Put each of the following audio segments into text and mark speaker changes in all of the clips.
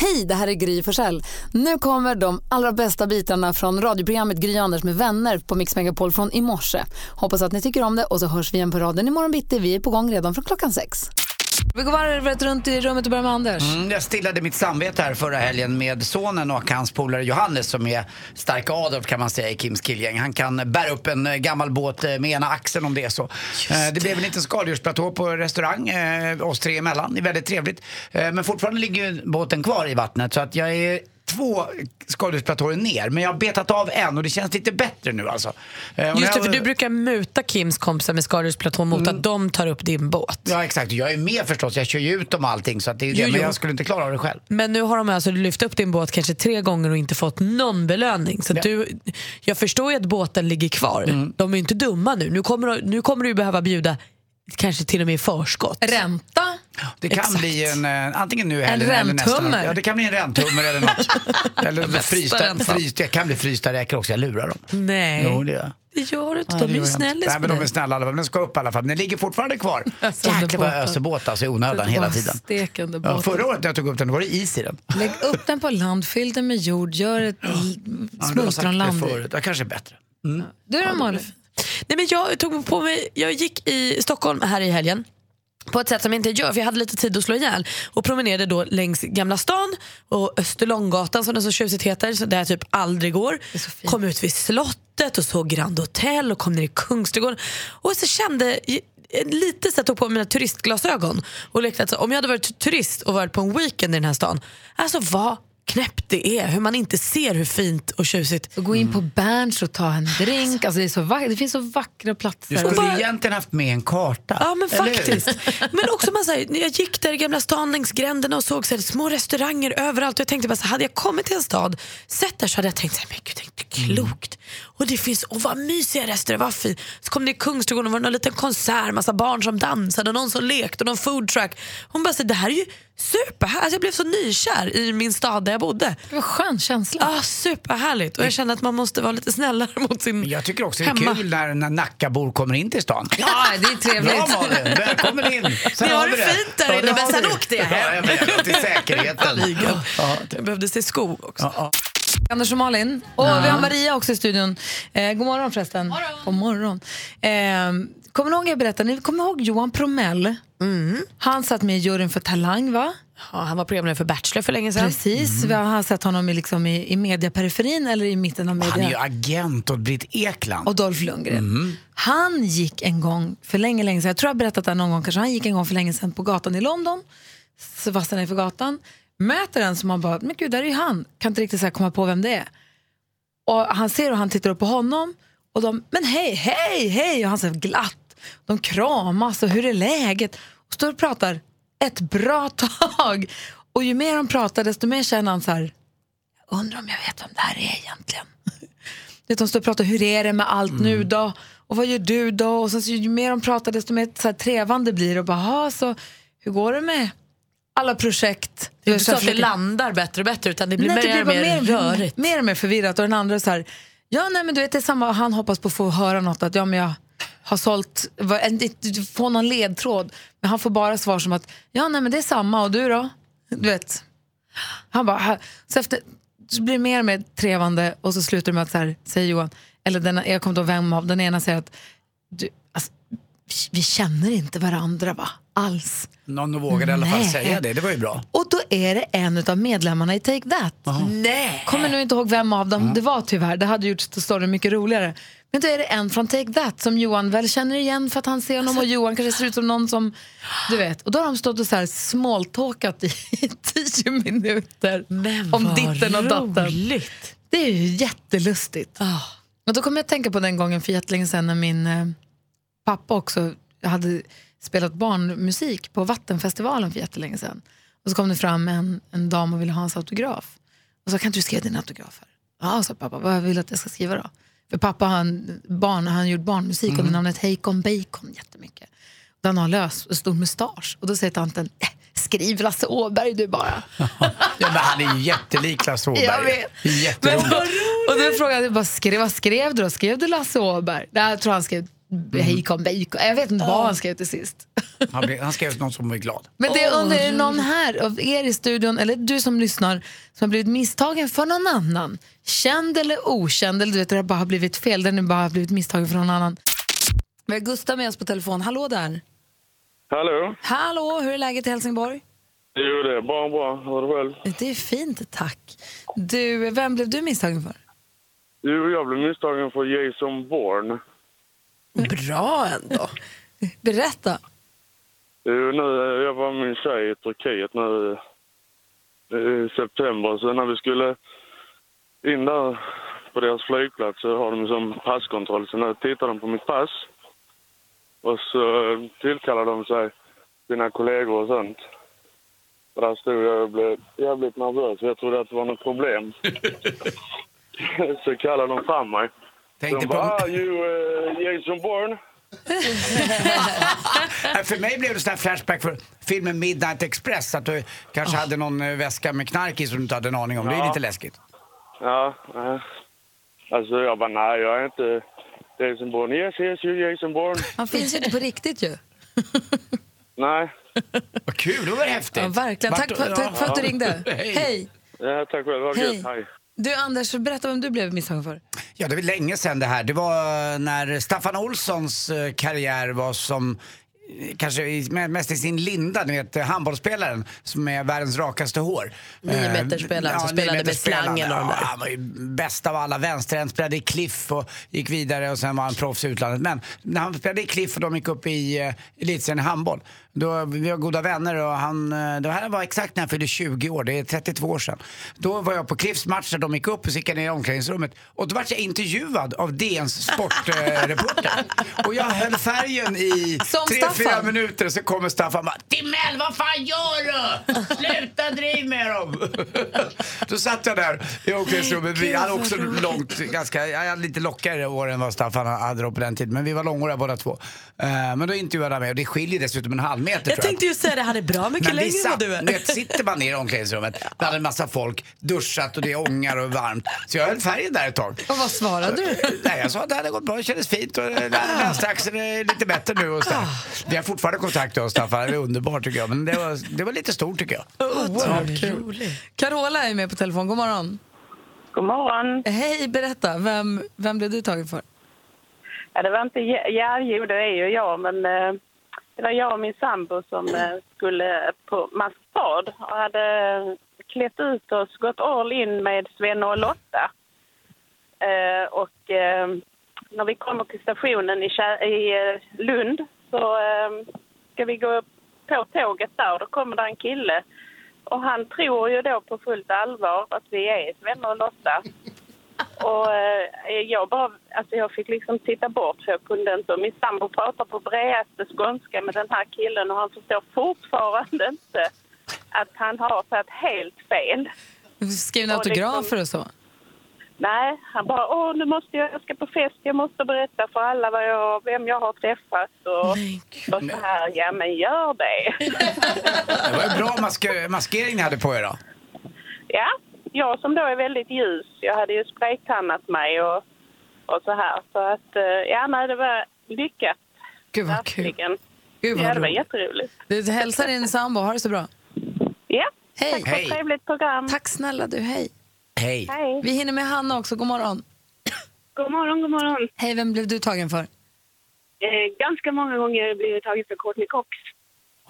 Speaker 1: Hej, det här är Gry Forssell. Nu kommer de allra bästa bitarna från radioprogrammet Gry Anders med vänner på Mix Megapol från i morse. Hoppas att ni tycker om det och så hörs vi igen på raden imorgon bitti. Vi är på gång redan från klockan sex. Vi går varvet runt i rummet och börjar med Anders.
Speaker 2: Mm, jag stillade mitt samvete här förra helgen med sonen och hans polare Johannes som är starka Adolf kan man säga i Kims killgäng. Han kan bära upp en eh, gammal båt eh, med ena axeln om det är så. Eh, Det blev en liten skaldjursplatå på restaurang eh, oss tre emellan. Det är väldigt trevligt. Eh, Men fortfarande ligger ju båten kvar i vattnet så att jag är två skaldjursplatåer ner. Men jag har betat av en och det känns lite bättre nu alltså. Eh, och när
Speaker 3: Just det,
Speaker 2: jag- Mm.
Speaker 3: för du brukar muta Kims kompisar med Skadedjursplatån mot att de tar upp din båt.
Speaker 2: Ja exakt, jag är med förstås. Jag kör ju ut dem och allting så att det är ju det.
Speaker 3: Jo,
Speaker 2: Men
Speaker 3: jo.
Speaker 2: jag skulle inte klara av det själv.
Speaker 3: Men nu har de alltså lyft upp din båt kanske tre gånger och inte fått någon belöning. Så att du, jag förstår ju att båten ligger kvar.
Speaker 2: Mm.
Speaker 3: De är ju inte dumma nu. Nu kommer, du- nu kommer du ju behöva bjuda kanske till och med i förskott.
Speaker 1: Ränta?
Speaker 2: Det kan
Speaker 3: Exakt.
Speaker 2: bli en, eh, antingen nu eller, eller nästa.
Speaker 3: räntummer.
Speaker 2: Ja, det kan bli en räntummer eller något. eller frysta,
Speaker 3: räntan.
Speaker 2: frysta, jag kan bli frysta räkor också, jag lurar dem.
Speaker 3: Nej,
Speaker 2: Jo, det gör jag.
Speaker 3: det gör du inte. De är ju snällis
Speaker 2: Nej,
Speaker 3: på
Speaker 2: men de är
Speaker 3: dig.
Speaker 2: snälla alla, men den ska upp i alla fall. Men Den ligger fortfarande kvar. Jäklar vad jag öser båt alltså i onödan hela tiden.
Speaker 1: Stekande båt.
Speaker 2: Ja, förra året när jag tog upp den då var det is i den.
Speaker 1: Lägg upp den på land, fyll den med jord, gör ett
Speaker 2: Ja, men du har sagt det
Speaker 1: smultronland i.
Speaker 2: förut. Ja, kanske är bättre.
Speaker 1: Du då Malin?
Speaker 3: Nej, men jag tog på mig, jag gick i Stockholm här i helgen på ett sätt som jag inte gör, för jag hade lite tid att slå ihjäl och promenerade då längs Gamla stan och Österlånggatan som den så tjusigt heter, så där jag typ aldrig går.
Speaker 1: så fint.
Speaker 3: Kom ut vid slottet och såg Grand Hotel och kom ner i Kungsträdgården och så kände lite så jag tog på mig mina turistglasögon och lekte att så- om jag hade varit turist och varit på en weekend i den här stan, alltså vad knäppt det är, hur man inte ser hur fint och tjusigt
Speaker 1: Och gå
Speaker 2: Mm.
Speaker 1: in på Berns och ta en drink. Alltså det, är så vack- det finns så vackra platser.
Speaker 2: Du skulle
Speaker 3: bara-
Speaker 2: egentligen haft med en karta.
Speaker 3: Ja men
Speaker 2: eller hur?
Speaker 3: faktiskt. Men också man, så här, när jag gick där i Gamla stan längs gränderna och såg så här, små restauranger överallt och jag tänkte bara så här, hade jag kommit till en stad, sett där så hade jag tänkt så här, men gud det är inte klokt. Och det finns, och vad mysiga restauranger, vad fint. Så kom det i Kungsträdgården och var det någon liten konsert, massa barn som dansade och någon som lekte och någon food truck. Hon bara, så här, det här är ju super, alltså, jag blev så nykär i min stad där jag bodde.
Speaker 1: Det var en skön känsla.
Speaker 3: Ah, superhärligt och jag kände att man måste vara lite snällare mot sin
Speaker 2: Jag tycker också det är
Speaker 3: Hemma.
Speaker 2: kul när, när Nackabor kommer in till stan.
Speaker 1: Ja, det är
Speaker 2: Bra
Speaker 1: trevligt.
Speaker 2: Malin, välkommen in. Sen
Speaker 3: Ni har
Speaker 2: vi
Speaker 3: det fint där inne,
Speaker 2: det
Speaker 3: men
Speaker 2: har
Speaker 3: sen
Speaker 2: vi.
Speaker 3: åkte jag
Speaker 2: Ja, jag
Speaker 3: hem.
Speaker 2: vet, till säkerheten.
Speaker 3: ligan.
Speaker 2: Ja,
Speaker 3: Jag behövde se skog också.
Speaker 2: ja, ja.
Speaker 1: Anders och Malin. Och vi har Maria också i studion. Eh, god morgon förresten. God morgon. Eh, kommer ni ihåg jag berättade? Ni kommer ihåg Johan Promell? Han satt med i juryn för Talang va?
Speaker 3: Mm. Ja, han var programledare för Bachelor för länge sedan. Mm.
Speaker 1: Precis, vi har har sett honom i, liksom, i, i mediaperiferin eller i mitten av
Speaker 2: Han är ju
Speaker 1: media.
Speaker 2: agent åt Britt Ekland. Mm.
Speaker 1: Och Dolph Lundgren. Han gick en gång för länge, länge sedan, jag tror jag har berättat det här någon gång kanske, han gick en gång för länge sedan på gatan i London, så fastnade han för gatan, möter en som han bara, men gud där är ju han, kan inte riktigt så här komma på vem det är. Och han ser och han tittar upp på honom och de, men hej, hej, hej, och han säger glatt. De kramas och hur är läget? Och står och pratar ett bra tag. Och ju mer de pratar desto mer känner han så här, jag undrar om jag vet vem det här är egentligen. Du vet, de står och pratar, hur är det med allt nu då? Och vad gör du då? Och sen så, ju mer de pratar desto mer så här, trevande blir det. Och bara, "Ha, så hur går det med alla projekt?
Speaker 3: Det är inte
Speaker 1: Så
Speaker 3: så
Speaker 1: jag
Speaker 3: att det
Speaker 1: försöker-
Speaker 3: landar bättre och bättre utan det blir
Speaker 1: Nej,
Speaker 3: mer
Speaker 1: det
Speaker 3: och
Speaker 1: blir
Speaker 3: mer,
Speaker 1: bara
Speaker 3: rörigt.
Speaker 1: mer och mer förvirrat och den andra så här, ja nej men du vet det är samma, han hoppas på att få höra något att ja men jag har sålt, vad- en- ett- få någon ledtråd. Men han får bara svar som att, ja nej men det är samma och du då? Du vet. Han bara, "Ha." så efter, så blir det mer och mer trevande och så slutar det med att så här, säger Johan, eller den, jag kommer inte ihåg vem av, den ena säger att, du, alltså, vi- vi känner inte varandra va? Alls.
Speaker 2: Någon vågade i alla fall
Speaker 1: Nej.
Speaker 2: säga det, det var ju bra.
Speaker 1: Och då är det en av medlemmarna i Take That.
Speaker 3: Nej!
Speaker 1: Kommer nu inte ihåg vem av dem det var tyvärr. Det hade gjort storyn mycket roligare. Men då är det en från Take That som Johan väl känner igen för att han ser honom och Johan kanske ser ut som någon som, du vet. Och då har de stått och så här smalltalkat i tio minuter
Speaker 3: Men
Speaker 1: om
Speaker 3: vad
Speaker 1: ditten och datten.
Speaker 3: roligt.
Speaker 1: Det är ju jättelustigt. Och Ah. då kommer jag att tänka på den gången för jättelänge sedan när min eh, pappa också hade spelat barnmusik på Vattenfestivalen för jättelänge sedan. Och så kom det fram en, en dam och ville ha hans autograf. Och sa, kan inte du skriva din autograf här? Ja, sa pappa, vad vill du att jag ska skriva då? För pappa han, barn, han gjort barnmusik under namnet Hacon Bacon jättemycket. Den har lös och stor mustasch. Och då säger tanten, "Eh, skriv Lasse Åberg du bara.
Speaker 2: Ja, men han är ju jättelik Lasse Åberg.
Speaker 1: Jag vet.
Speaker 2: Jätteroligt.
Speaker 1: och då frågade jag, vad skrev, vad skrev du då? Skrev du Lasse Åberg? Nej, jag tror han skrev Bacon, bacon. Jag vet inte vad han skrev till sist.
Speaker 2: Han, blev, han skrev något som var glad.
Speaker 1: Men det undrar, är det någon här av er i studion, eller du som lyssnar, som har blivit misstagen för någon annan? Känd eller okänd, eller du vet, det har bara har blivit fel, den har bara har blivit misstagen för någon annan. Vi har Gustav med oss på telefon. Hallå där!
Speaker 4: Hallå?
Speaker 1: Hallå, hur är läget i Helsingborg?
Speaker 4: Jo, det är bra, bra. Hör du själv?
Speaker 1: Det är fint, tack. Du, vem blev du misstagen för?
Speaker 4: Jo, jag blev misstagen för Jason Bourne.
Speaker 3: Bra ändå.
Speaker 1: Berätta.
Speaker 4: Jo, nu, eh, jag var med min tjej i Turkiet nu eh, i september. Så när vi skulle in där på deras flygplats så har de som passkontroll. Så nu tittar de på mitt pass och så eh, tillkallar de sig sina kollegor och sånt. Och där stod jag och blev jävligt nervös. Jag trodde att det var något problem. så kallade de fram mig.
Speaker 2: Tänkte
Speaker 4: De
Speaker 2: på,
Speaker 4: bara, ah, you eh, Jason Bourne?
Speaker 2: Nej, för mig blev det sån här flashback för filmen Midnight Express. Att du
Speaker 3: Ah.
Speaker 2: kanske hade någon eh, väska med knark i som du inte hade en aning om. Det är
Speaker 4: Ja.
Speaker 2: lite läskigt.
Speaker 4: Ja. eh, Alltså jag bara, nej jag är inte Jason Bourne. Yes, yes, you Jason Bourne.
Speaker 1: Han finns ju inte på riktigt ju.
Speaker 4: nej,
Speaker 2: Vad kul, det var häftigt.
Speaker 1: Ja, verkligen.
Speaker 2: Vart-
Speaker 1: Tack för, tack för att du ringde.
Speaker 2: Hej.
Speaker 1: Hej!
Speaker 4: ja, tack själv. Ha det
Speaker 1: Hej.
Speaker 4: gött. Hej.
Speaker 1: Du Anders, berätta vem du blev misstagen för.
Speaker 2: Ja, det var länge sedan det här. Det var eh, när Staffan Olssons eh, karriär var som eh, Kanske i- me- mest i sin linda, ni vet eh, handbollsspelaren som är världens rakaste hår. Eh,
Speaker 3: Niometersspelaren som spelade med
Speaker 2: niometersspelaren.
Speaker 3: slangen och de
Speaker 2: ja,
Speaker 3: där.
Speaker 2: Han var ju bäst av alla vänsterhänt, spelade i Cliff och gick vidare och sen var han proffs i utlandet. Men när han spelade i Cliff och de gick upp i eh, elitserien i handboll, då, vi var goda vänner och han, eh, det här var exakt när han fyllde 20 år, det är 32 år sedan. Då var jag på Cliffs match när de gick upp och så gick jag ner i omklädningsrummet och då vart jag intervjuad av DNs sportreporter. och jag höll färgen i
Speaker 1: Som
Speaker 2: tre, fyra
Speaker 1: Staffan.
Speaker 2: minuter så kommer Staffan och bara “Timell, vad fan gör du? Sluta driv med dem!” Då satt jag där i omklädningsrummet. Vi hade också långt, ganska, jag hade lite lockigare år än vad Staffan hade då på den tiden. Men vi var långhåriga båda två. Eh, Men då intervjuade han mig och det skiljer dessutom en halv meter
Speaker 3: Jag tänkte ju säga det, han är bra mycket
Speaker 2: men
Speaker 3: längre än
Speaker 2: vissa,
Speaker 3: vad du
Speaker 2: du
Speaker 3: är.
Speaker 2: vet, sitter man ner i omklädningsrummet, där är en massa folk, duschat och det är ångar och varmt. Så jag höll färgen där ett tag.
Speaker 1: Och vad svarade du?
Speaker 2: Nej, jag sa att det hade gått bra, det kändes fint och eh,
Speaker 3: Ah.
Speaker 2: vänsteraxeln är lite bättre nu och så där. Vi har fortfarande kontakt med oss, Staffan, det är underbart tycker jag. Men det var, det var lite stort tycker jag.
Speaker 3: Otroligt roligt.
Speaker 1: Carola är med på telefon. God morgon.
Speaker 5: God morgon.
Speaker 1: Hej, berätta. Vem, vem blev du tagen för?
Speaker 5: Ja, det var inte... Ja, ja, jo, det är ju jag, men eh, det var jag och min sambo som eh, skulle på maskerad och hade klätt ut oss, gått all in med Svenne och Lotta. Eh, och eh, när vi kommer till stationen i, Kä- i eh, Lund så eh, ska vi gå på tåget där och då kommer det en kille. Och han tror ju då på fullt allvar att vi är Svenne och Lotta. Och eh, jag, bara, alltså jag fick liksom titta bort för jag kunde inte. Och Min sambo pratar på bredaste skånska med den här killen och han förstår fortfarande inte att han har tagit helt fel.
Speaker 1: Skrev ni
Speaker 5: Ja,
Speaker 1: autografer
Speaker 5: liksom-
Speaker 1: och så?
Speaker 5: Nej, han bara åh nu måste jag, jag ska på fest, jag måste berätta för alla vad jag, vem jag har träffat och, och så här. Ja men gör det.
Speaker 2: Det var en bra maske- maskering ni hade på er då.
Speaker 5: Ja, jag som då är väldigt ljus, jag hade ju spraytannat mig och, och så här. Så att eh, ja nej det var lyckat.
Speaker 1: Gud vad kul.
Speaker 5: Verkligen.
Speaker 1: Gud
Speaker 5: Ja,
Speaker 1: vad
Speaker 5: det var
Speaker 1: roligt.
Speaker 5: jätteroligt.
Speaker 1: Du hälsar din sambo, ha det så bra.
Speaker 5: Ja,
Speaker 1: Hej.
Speaker 5: tack för ett trevligt program.
Speaker 1: Tack snälla du, hej.
Speaker 2: Hej.
Speaker 5: Hej.
Speaker 1: Vi hinner med Hanna också, god morgon.
Speaker 6: God morgon, god morgon.
Speaker 1: Hej, vem blev du tagen för?
Speaker 6: Eh, ganska många gånger har jag blivit tagen för Courtney Cox.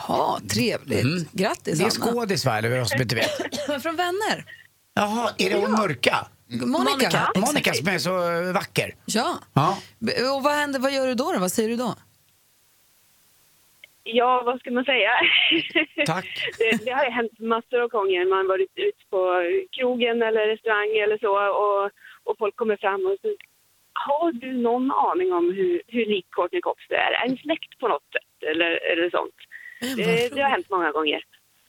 Speaker 1: Ja, trevligt. Grattis
Speaker 2: Mm. Det är
Speaker 1: Hanna.
Speaker 2: skådis va, eller vad som inte vet?
Speaker 1: Från vänner.
Speaker 2: Jaha, är det hon mörka?
Speaker 1: Monica. Monica.
Speaker 2: Monica som är så eh, vacker.
Speaker 1: Ja.
Speaker 2: Ja.
Speaker 1: B- Och vad händer, vad gör du då? då? Vad säger du då?
Speaker 6: Ja, vad ska man säga?
Speaker 2: Tack.
Speaker 6: det, det har ju hänt massor av gånger. Man har varit ute på krogen eller restaurang eller så och, och folk kommer fram och säger har du någon aning om hur, hur lik Courtney Cox du är? Är ni släkt på något sätt eller, eller sånt? Det, det har hänt många gånger.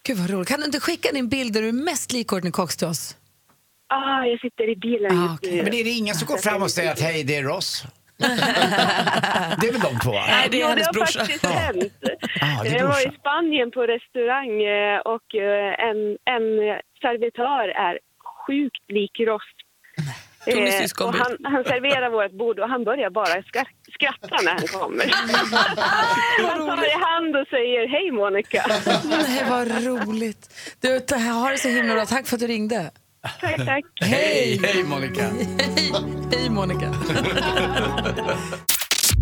Speaker 1: Gud vad roligt. Kan du inte skicka din bild där du är mest lik Courtney Cox till oss?
Speaker 6: Ah, jag sitter i bilen
Speaker 1: Ah,
Speaker 6: just
Speaker 1: okej.
Speaker 6: nu.
Speaker 2: Men är det ingen som går fram och säger att hej, det är Ross? det är väl de två? va?
Speaker 3: Nej, det är
Speaker 6: ja,
Speaker 3: hennes
Speaker 6: det har
Speaker 3: brorsa.
Speaker 6: faktiskt hänt.
Speaker 2: Ah, det är
Speaker 6: jag var
Speaker 2: brorsan.
Speaker 6: i Spanien på restaurang eh, och eh, en, en servitör är sjukt lik Ross.
Speaker 3: Tog ni
Speaker 6: Eh, och
Speaker 3: syskonbild?
Speaker 6: han, han serverar vårt bord och han börjar bara skra- skratta när han kommer. han tar mig i hand och säger hej Monica.
Speaker 1: Nej, vad roligt. Du, ta- ha det så himla bra. Tack för att du ringde.
Speaker 6: tack, tack.
Speaker 2: Hej, hej Monica.
Speaker 1: Hej, hej Monica.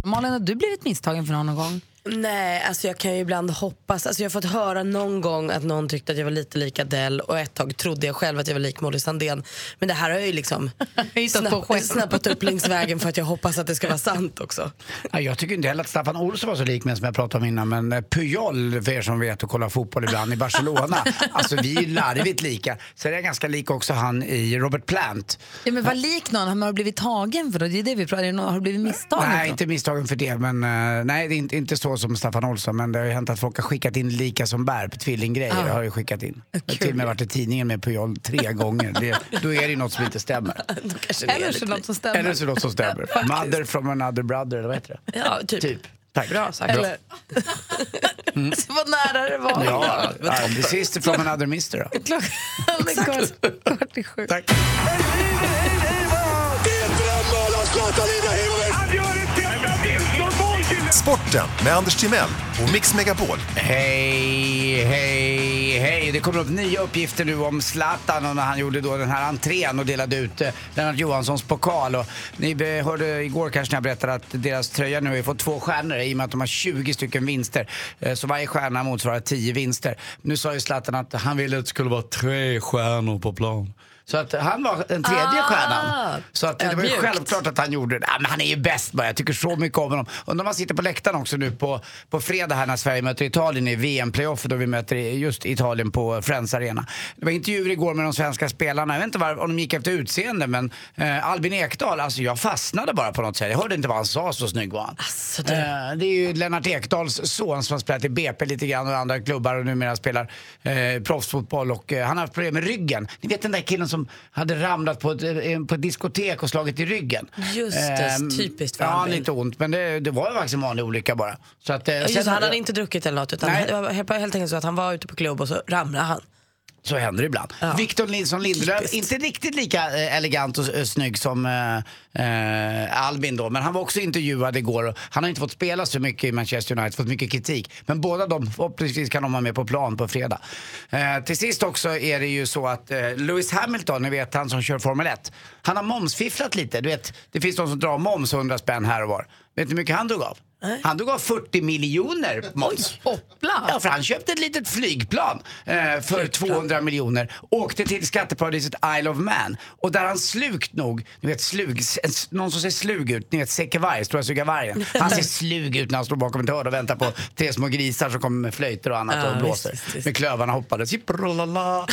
Speaker 1: Malin, har du blivit misstagen för någon gång?
Speaker 3: Nej, alltså jag kan ju ibland hoppas. Alltså jag har fått höra någon gång att någon tyckte att jag var lite lik Adele och ett tag trodde jag själv att jag var lik Molly Sandén. Men det här har jag ju liksom
Speaker 1: Hittat på själv.
Speaker 3: snappat upp längs vägen för att jag hoppas att det ska vara sant också.
Speaker 2: Ja, jag tycker inte heller att Staffan Olsson var så lik mig som jag pratade om innan, men eh, Puyol, för er som vet och kollar fotboll ibland, i Barcelona. Alltså vi är ju larvigt lika. Sen är jag ganska lik också han i Robert Plant.
Speaker 1: Ja, men vad lik någon? Har man blivit tagen för då? Det är det vi pratar om. Har du blivit misstagen? för
Speaker 2: Nej,
Speaker 1: något?
Speaker 2: inte misstagen för det, men eh, nej, det är inte, inte så som Staffan Olsson, men det har ju hänt att folk har skickat in lika som bär på tvillinggrejer. har ju skickat in. Jag har till och med varit i tidningen med Puyol tre gånger. Det, då är det ju något som inte stämmer.
Speaker 3: Då kanske det är
Speaker 1: Eller så
Speaker 3: lite
Speaker 1: något som stämmer.
Speaker 2: Eller så är det något som stämmer. Mother from another brother, eller vad heter det?
Speaker 3: lik. Ja, typ.
Speaker 2: Typ. Tack. Mm.
Speaker 3: Bra sagt.
Speaker 1: Eller? Så vad nära det var.
Speaker 2: Ja, ja, the sister from another mister då.
Speaker 1: Klockan är kvart, kvart i sju.
Speaker 2: Tack.
Speaker 7: Sporten med Anders Timell och Mix Megapol.
Speaker 2: Hej, hej, hej. Det kommer upp nya uppgifter nu om Zlatan och när han gjorde då den här entrén och delade ut eh, Lennart Johanssons pokal. Och ni be- hörde igår kanske när jag berättade att deras tröja nu har fått två stjärnor i och med att de har 20 stycken vinster. Eh, Så varje stjärna motsvarar 10 vinster. Nu sa ju Zlatan att han ville att det skulle vara tre stjärnor på plan. Så att han var den tredje
Speaker 3: Ah.
Speaker 2: stjärnan. Så att det var ju
Speaker 3: Mjukt.
Speaker 2: själv klart att han gjorde det. Ja, men han är ju bäst bara. Jag tycker så mycket om honom. Undrar om han sitter på läktaren också nu på, på fredag här när Sverige möter Italien i VM-playoffet då vi möter i- just Italien på Friends Arena. Det var intervjuer igår med de svenska spelarna. Jag vet inte var, om de gick efter utseende men eh, Albin Ekdal, alltså jag fastnade bara på något sätt. Jag hörde inte vad han sa, så snygg var han.
Speaker 3: Alltså, du.
Speaker 2: Eh, det är ju Lennart Ekdals son som har spelat i BP lite grann och andra klubbar och numera spelar eh, proffsfotboll och eh, han har haft problem med ryggen. Ni vet den där killen som hade ramlat på ett, eh, på ett diskotek och slagit i ryggen. Eh,
Speaker 3: Just det, typiskt för
Speaker 2: Ja,
Speaker 3: Albin.
Speaker 2: lite ont men det, det var ju faktiskt en vanlig olycka bara. Så att, eh,
Speaker 3: Just,
Speaker 2: sen-
Speaker 3: han hade inte druckit eller något utan
Speaker 2: Nej.
Speaker 3: det var helt helt enkelt så att han var ute på klubb och så ramlade han.
Speaker 2: Så händer det ibland.
Speaker 3: Ja.
Speaker 2: Victor Nilsson Lindelöf,
Speaker 3: Typiskt.
Speaker 2: inte riktigt lika eh, elegant och eh, snygg som eh, eh, Albin då, men han var också intervjuad igår och han har inte fått spela så mycket i Manchester United, fått mycket kritik. Men båda de, förhoppningsvis kan de vara med på plan på fredag. Eh, till sist också är det ju så att eh, Lewis Hamilton, ni vet han som kör Formel 1, han har momsfifflat lite. Du vet, det finns de som drar moms 100 spänn här och var. Vet ni hur mycket han drog av? Han drog av 40 miljoner moms.
Speaker 1: Hoppla!
Speaker 2: Ja, för han köpte ett litet flygplan eh, för 200 miljoner. Åkte till skatteparadiset Isle of Man. Och där han slukt nog, ni vet slug, en s- någon som ser slug ut, ni vet Säcke Varg, Stora Suga Vargen. Han ser slug ut när han står bakom ett hörn och väntar på tre små grisar som kommer med flöjter och annat
Speaker 3: Ja,
Speaker 2: och blåser.
Speaker 3: visst, visst, visst.
Speaker 2: Med klövarna hoppades. Jipprolala.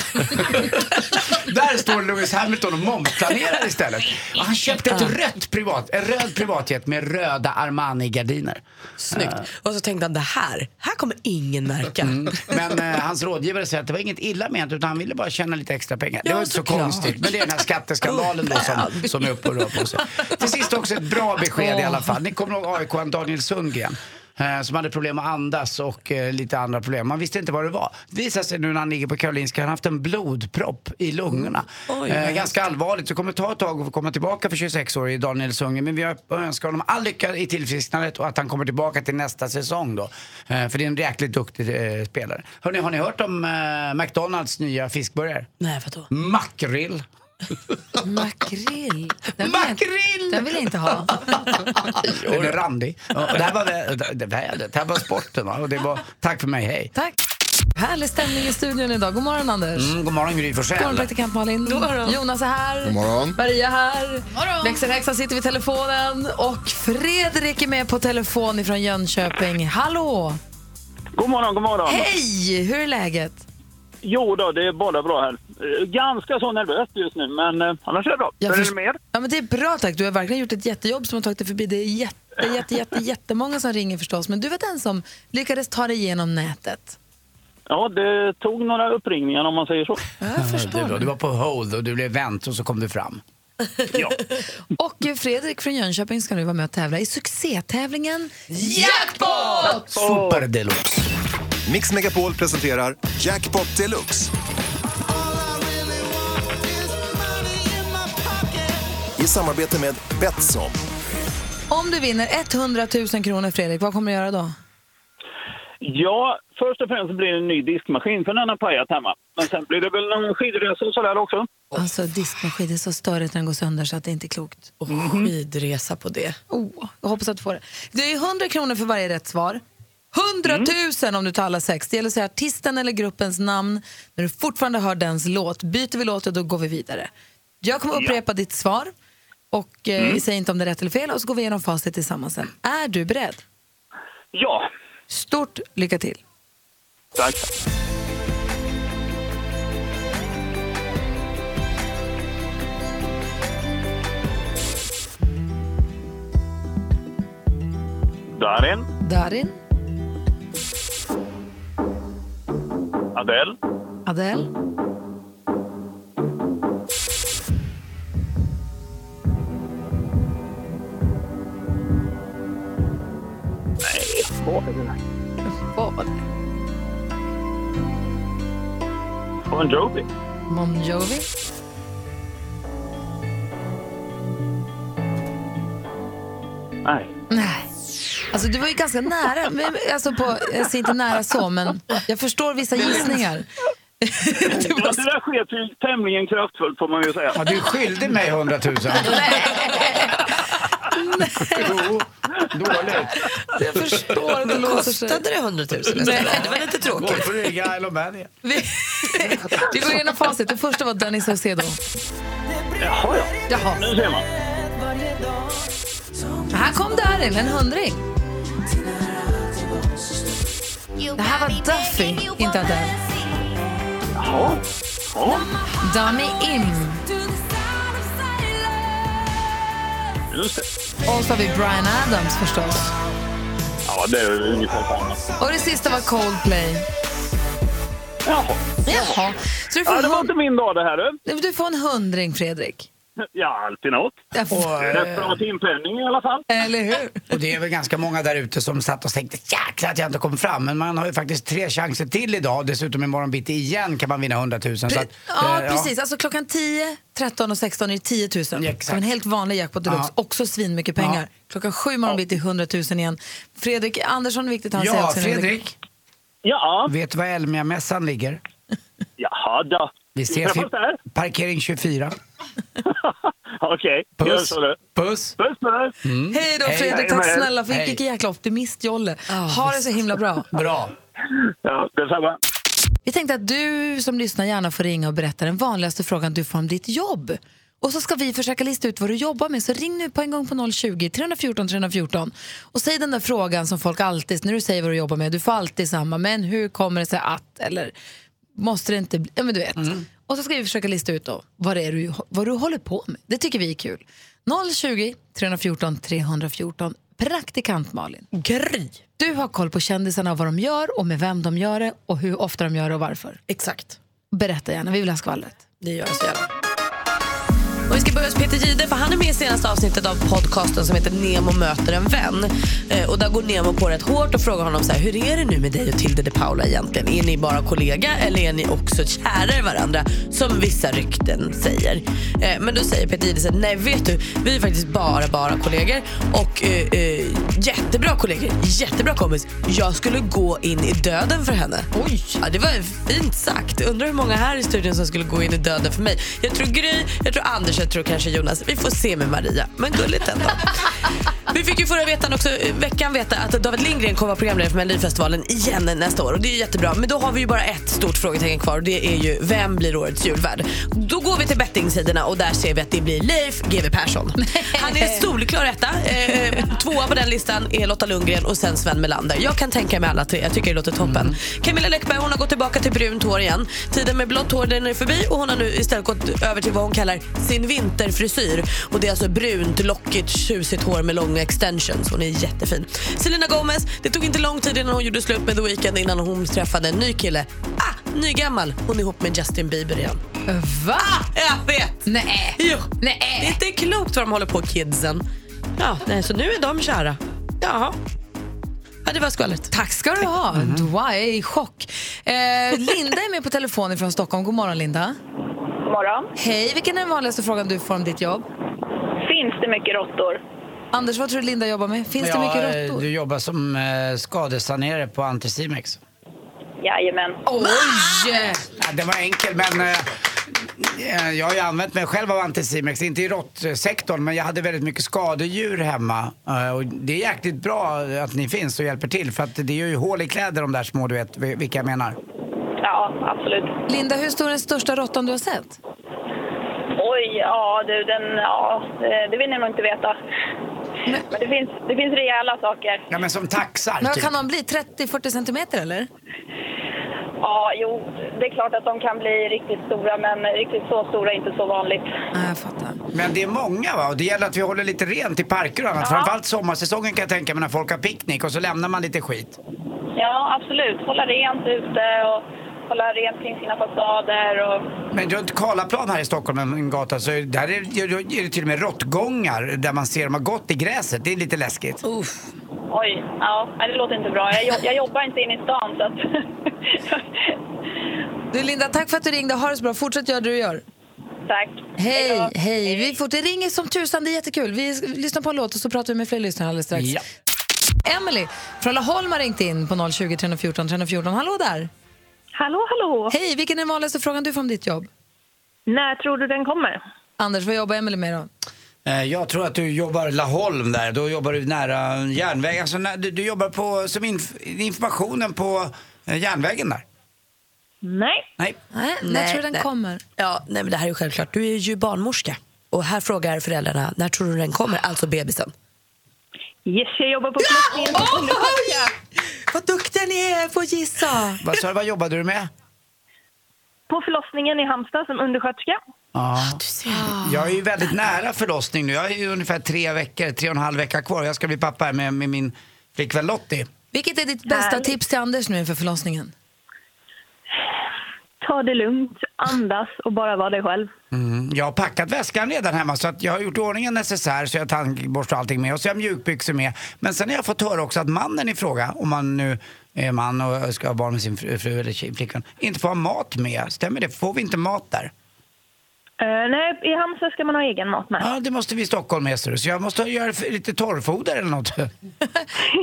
Speaker 2: där står Lewis Hamilton och momsplanerar istället. Och han köpte ett rött privat, en röd privatjet med röda Eh, Armani-gardiner.
Speaker 3: Snyggt. Och så tänkte han det här, här kommer ingen märka.
Speaker 2: Men eh, hans rådgivare säger att det var inget illa menat utan han ville bara tjäna lite extra pengar. Det
Speaker 3: Ja,
Speaker 2: var inte så
Speaker 3: såklart.
Speaker 2: konstigt. Men det är den här skatteskandalen då som, som är uppe och rör på sig. Till sist också ett bra besked i alla fall. Ni kommer ihåg AIK Daniel Sundgren. eh, Som hade problem att andas och eh, lite andra problem. Man visste inte vad det var. Det visar sig nu när han ligger på Karolinska, han har haft en blodpropp i lungorna.
Speaker 3: Mm. Oj,
Speaker 2: Eh,
Speaker 3: vad
Speaker 2: ganska allvarligt, så det kommer ta ett tag att få komma tillbaka för 26 år i Daniel Sundgren. Men vi ö- önskar honom all lycka i tillfrisknandet och att han kommer tillbaka till nästa säsong då. Eh, För det är en jäkligt duktig eh, spelare. Hörrni, har ni hört om eh, McDonalds nya fiskburgare?
Speaker 3: Nej vadå?
Speaker 2: Makrill.
Speaker 1: Makrill. Den vill jag-
Speaker 2: Makrill!
Speaker 1: Den vill jag inte ha.
Speaker 2: Den är randig. Ja, och Det här var vä- det- vädret, det här var sporten va? Och det var, tack för mig, hej.
Speaker 1: Tack. Härlig stämning i studion idag. God morgon, Anders.
Speaker 2: Mm, god morgon
Speaker 1: God
Speaker 2: Gry
Speaker 1: morgon,
Speaker 2: Forssell.
Speaker 1: praktikant Malin. Jonas är här. God
Speaker 7: morgon.
Speaker 1: Maria är här. Växelhäxan sitter vid telefonen. Och Fredrik är med på telefon ifrån Jönköping. Hallå!
Speaker 8: God morgon, god morgon.
Speaker 1: Hej! Hur är läget?
Speaker 8: Jo då, det är bara bra här. Eh, Ganska så nervöst just nu, men eh, annars är det bra.
Speaker 1: Jag
Speaker 8: Hur är
Speaker 1: förs-
Speaker 8: det med er?
Speaker 1: Ja, men det är bra tack. Du har verkligen gjort ett jättejobb som har tagit dig förbi. Det är jätte, jätte, jätte, jättemånga som ringer förstås. Men du var den som lyckades ta dig igenom nätet.
Speaker 8: Ja, det tog några uppringningar om man säger så.
Speaker 1: Jag
Speaker 2: Det är bra.
Speaker 1: förstår.
Speaker 2: Du var på hold och du blev vänt och så kom du fram.
Speaker 1: Och eh, Fredrik från Jönköping ska nu vara med och tävla i succétävlingen Jackpot!
Speaker 2: Super deluxe.
Speaker 7: Mix Megapol presenterar Jackpot Deluxe. i samarbete med Betsson.
Speaker 1: Om du vinner 100 000 kronor, Fredrik, vad kommer du göra då?
Speaker 8: Ja, först och främst blir det en ny diskmaskin för den har pajat hemma. Men sen blir det väl någon skidresa och sådär också.
Speaker 1: Alltså, diskmaskin, det är så störigt när den går sönder så att det inte är klokt.
Speaker 3: Och skidresa på det.
Speaker 1: Oh, jag hoppas att du får det. Det är 100 kronor för varje rätt svar. 100 000 om du tar alla sex. Det gäller att säga artisten eller gruppens namn när du fortfarande hör dens låt. Byter vi låt och då går vi vidare. Jag kommer upprepa ditt svar och eh, vi säger inte om det är rätt eller fel och så går vi igenom facit tillsammans sen. Är du beredd?
Speaker 8: Ja,
Speaker 1: Stort lycka till!
Speaker 8: tack. Darin,
Speaker 1: Darin,
Speaker 8: Adele,
Speaker 1: Adele, vad var det?
Speaker 8: Bon Jovi,
Speaker 1: Bon Jovi,
Speaker 8: nej,
Speaker 1: Nej. Alltså du var ju ganska nära, men, alltså på, jag säger inte nära så, men jag förstår vissa gissningar. Du
Speaker 8: Ja,
Speaker 1: var
Speaker 8: det där sket ju tämligen kraftfullt får man ju säga.
Speaker 2: Ja, du är skyldig mig 100 000. Jo, dåligt.
Speaker 1: Jag förstår att det låter så.
Speaker 3: Kostade det 100 000?
Speaker 1: Nej.
Speaker 3: Det var lite
Speaker 2: Går
Speaker 3: tråkigt.
Speaker 2: för Riga eller Mania.
Speaker 1: Vi, vi går igenom facit. Det första var Danny Saucedo.
Speaker 8: Jaha, ja.
Speaker 1: Jaha.
Speaker 8: Nu ser man.
Speaker 1: Här kom Darin, en hundring. Det här var Duffy, inte Adele.
Speaker 8: Jaha. Ja,
Speaker 1: Dummy Im.
Speaker 8: just det.
Speaker 1: Och så har vi Brian Adams förstås.
Speaker 8: Ja, det är ju ungefär samma.
Speaker 1: Och det sista var Coldplay.
Speaker 8: Jaha.
Speaker 1: Jaha. Så du
Speaker 8: Ja,
Speaker 1: får,
Speaker 8: det
Speaker 1: en
Speaker 8: var inte
Speaker 1: hund,
Speaker 8: min dag det här du.
Speaker 1: du får en hundring, Fredrik.
Speaker 8: Ja, alltid något.
Speaker 1: Ja, f-
Speaker 2: Och, eh,
Speaker 8: Rätt bra timpenning i alla fall.
Speaker 1: Eller hur?
Speaker 2: och det är väl ganska många där ute som satt och tänkte jäklar att jag inte kom fram. Men man har ju faktiskt tre chanser till idag. Dessutom imorgon bitti igen kan man vinna 100 000. Så att, eh,
Speaker 1: Ja, precis. Alltså klockan 10, 13 och 16 är det 10 000.
Speaker 2: Ja, exakt.
Speaker 1: Som en helt vanlig jackpot deluxe.
Speaker 2: Ja.
Speaker 1: Också svinmycket pengar.
Speaker 2: Ja.
Speaker 1: Klockan 7 morgon blir det 100 000 igen. Fredrik Andersson är viktigt. Han säger
Speaker 2: Ja,
Speaker 1: också nu.
Speaker 2: Fredrik.
Speaker 8: Ja,
Speaker 2: Vet du var Elmia-mässan ligger?
Speaker 8: jaha då.
Speaker 2: Vi ses i
Speaker 8: träffas där.
Speaker 2: parkering 24.
Speaker 8: Okej, gör
Speaker 2: Puss.
Speaker 8: så du.
Speaker 2: Puss.
Speaker 8: Puss med dig.
Speaker 1: Hej då
Speaker 2: Hej.
Speaker 1: Fredrik, tack
Speaker 8: Hej.
Speaker 1: snälla för
Speaker 2: Hej.
Speaker 1: vilken jäkla optimist Jolle. ha det så himla bra.
Speaker 2: Bra.
Speaker 8: Ja, detsamma.
Speaker 1: Vi tänkte att du som lyssnar gärna får ringa och berätta den vanligaste frågan du får om ditt jobb. Och så ska vi försöka lista ut vad du jobbar med. Så ring nu på en gång på 020-314 314 och säg den där frågan som folk alltid, när du säger vad du jobbar med, du får alltid samma, men hur kommer det sig att, eller måste det inte bli, ja men du vet. Och så ska vi försöka lista ut då, vad det är du, vad du håller på med. Det tycker vi är kul. 020-314 314. Praktikant Malin.
Speaker 3: Gry.
Speaker 1: Du har koll på kändisarna, vad de gör och med vem de gör det och hur ofta de gör det och varför.
Speaker 3: Exakt.
Speaker 1: Berätta gärna, vi vill ha skvallret.
Speaker 3: Det gör jag så gärna. Och vi ska börja hos Peter Gide för han är med i senaste avsnittet av podcasten som heter Nemo möter en vän. Eh, och där går Nemo på rätt hårt och frågar honom så här, hur är det nu med dig och Tilde de Paula egentligen? Är ni bara kollega eller är ni också kära i varandra? Som vissa rykten säger. Eh, men då säger Peter Gide så här, nej vet du, eh, vi är faktiskt bara, bara kollegor och eh, eh, jättebra kollegor, jättebra kompis. Jag skulle gå in i döden för henne. Oj! Ja, det var fint sagt. Undrar hur många här i studion som skulle gå in i döden för mig. Jag tror Gry, jag tror Anders, jag tror kanske Jonas. Vi får se med Maria, men gulligt ändå. Vi fick ju förra veckan också, veckan veta att David Lindgren kommer vara programledare för Melodifestivalen igen nästa år och det är ju jättebra. Men då har vi ju bara ett stort frågetecken kvar och det är ju vem blir årets julvärd? Då går vi till bettingsidorna och där ser vi att det blir Leif GW Persson. Han är solklar etta. Eh, tvåa på den listan är Lotta Lundgren och sen Sven Melander. Jag kan tänka mig alla tre. Jag tycker det låter toppen.
Speaker 1: Mm.
Speaker 3: Camilla Läckberg hon har gått tillbaka till brunt hår igen. Tiden med blått hår den är förbi och hon har nu istället gått över till vad hon kallar sin vinterfrisyr. Och det är alltså brunt, lockigt, tjusigt hår med långa extensions. Hon är jättefin. Selena Gomez, det tog inte lång tid innan hon gjorde slut med The Weeknd innan hon träffade en ny kille. Ah, nygammal. Hon är ihop med Justin Bieber igen. Ah,
Speaker 1: Va?
Speaker 3: Jag vet!
Speaker 1: Nej.
Speaker 3: Jo. Det är
Speaker 1: Nej.
Speaker 3: inte klokt vad de håller på kidsen. Ja, nej, så nu är de kära. Jaha. Ja, det var skvallret.
Speaker 1: Tack ska du ha.
Speaker 2: Mhm.
Speaker 1: Du, wow, jag är i chock. Eh, Linda är med på telefon från Stockholm. God morgon Linda.
Speaker 6: God morgon.
Speaker 1: Hej, vilken är den vanligaste frågan du får om ditt jobb?
Speaker 5: finns det mycket råttor.
Speaker 1: Anders, vad tror du Linda jobbar med? Finns det
Speaker 2: Ja,
Speaker 1: mycket
Speaker 2: eh,
Speaker 1: råttor?
Speaker 2: Du jobbar som eh, skadesanerare på Anticimex.
Speaker 5: Jajamän.
Speaker 1: Oj!
Speaker 2: Ja, det var enkel, men eh, eh, jag har ju använt mig själv av Anticimex. Inte i råttsektorn, men jag hade väldigt mycket skadedjur hemma. Eh, och det är jäkligt bra att ni finns och hjälper till, för att det gör ju hål i kläder de där små, du vet vi- vilka jag menar.
Speaker 5: Ja, absolut.
Speaker 1: Linda, hur stor är den största råttan du har sett?
Speaker 5: Oj, ja du, den, ja, eh, det vill ni nog inte veta. Men, det, finns, det finns rejäla saker.
Speaker 2: Ja, men som taxar,
Speaker 1: Men vad
Speaker 2: typ.
Speaker 1: kan de bli? 30-40 centimeter eller?
Speaker 5: Ja, jo, det är klart att de kan bli riktigt stora, men riktigt så stora är inte så vanligt.
Speaker 1: Nej, jag fattar.
Speaker 2: Men det är många, va? Och det gäller att vi håller lite rent i parker och annat. Framförallt sommarsäsongen kan jag tänka mig, när folk har picknick och så lämnar man lite skit.
Speaker 5: Ja, absolut. Hålla rent ute och hålla rent kring sina fasader. Och,
Speaker 2: Men runt Karlaplan här i Stockholm, en en gata, så där är, är det till och med råttgångar där man ser dem har gått i gräset. Det är lite läskigt.
Speaker 1: Uff.
Speaker 5: oj, ja, nej, det låter inte bra. Jag, jo- jag jobbar inte in i stan, så att...
Speaker 1: Du Linda, tack för att du ringde. Ha det så bra. Fortsätt göra det du gör.
Speaker 5: Tack.
Speaker 1: Hej,
Speaker 5: då.
Speaker 1: hej. Vi får, det ringer som tusan, det är jättekul. Vi s- lyssnar på en låt och så pratar vi med fler lyssnare alldeles strax.
Speaker 2: Ja.
Speaker 1: Emily från Laholm har ringt in på 020 314 314. Hallå där!
Speaker 5: Hallå, hallå!
Speaker 1: Hej, vilken är den vanligaste frågan du får om ditt jobb?
Speaker 5: När tror du den kommer?
Speaker 1: Anders, vad jobbar Emily med då?
Speaker 2: Eh, Jag tror att du jobbar Laholm där, då jobbar du nära järnvägen. Alltså, när, du, du jobbar på, som inf informationen på eh, järnvägen där.
Speaker 5: Nej.
Speaker 2: Nej.
Speaker 1: Nej, när
Speaker 3: Nej,
Speaker 1: tror du den
Speaker 3: nej.
Speaker 1: kommer?
Speaker 3: Ja, nej, men det här är ju självklart. Du är ju barnmorska. Och här frågar föräldrarna, när tror du den kommer? Alltså bebisen.
Speaker 5: Yes, jag jobbar på förlossningen.
Speaker 3: Vad duktiga ni är på att gissa!
Speaker 2: Vad, sa du, vad jobbade du med?
Speaker 5: på förlossningen i Halmstad som undersköterska.
Speaker 2: Ja.
Speaker 3: Ah, Du ser.
Speaker 2: Jag är ju väldigt nära förlossning nu. Jag är ju ungefär tre veckor, tre och en halv vecka kvar. Jag ska bli pappa här med, med min flickvän Lottie.
Speaker 1: Vilket är ditt bästa
Speaker 5: Härligt.
Speaker 1: tips till Anders nu inför förlossningen?
Speaker 5: Ta det lugnt, andas och bara vara dig själv.
Speaker 2: Mm. Jag har packat väskan redan hemma så att jag har gjort i ordning en necessär så jag har tandborste och allting med och så har jag mjukbyxor med. Men sen har jag fått höra också att mannen i fråga, om man nu är man och ska ha barn med sin fru, fru eller tjej- flickvän, inte får ha mat med. Stämmer det? Får vi inte mat där?
Speaker 5: Eh, nej, i Halmstad ska man ha egen mat med.
Speaker 2: Ja, det måste vi i Stockholm med ser du. så jag måste göra f- lite torrfoder eller något.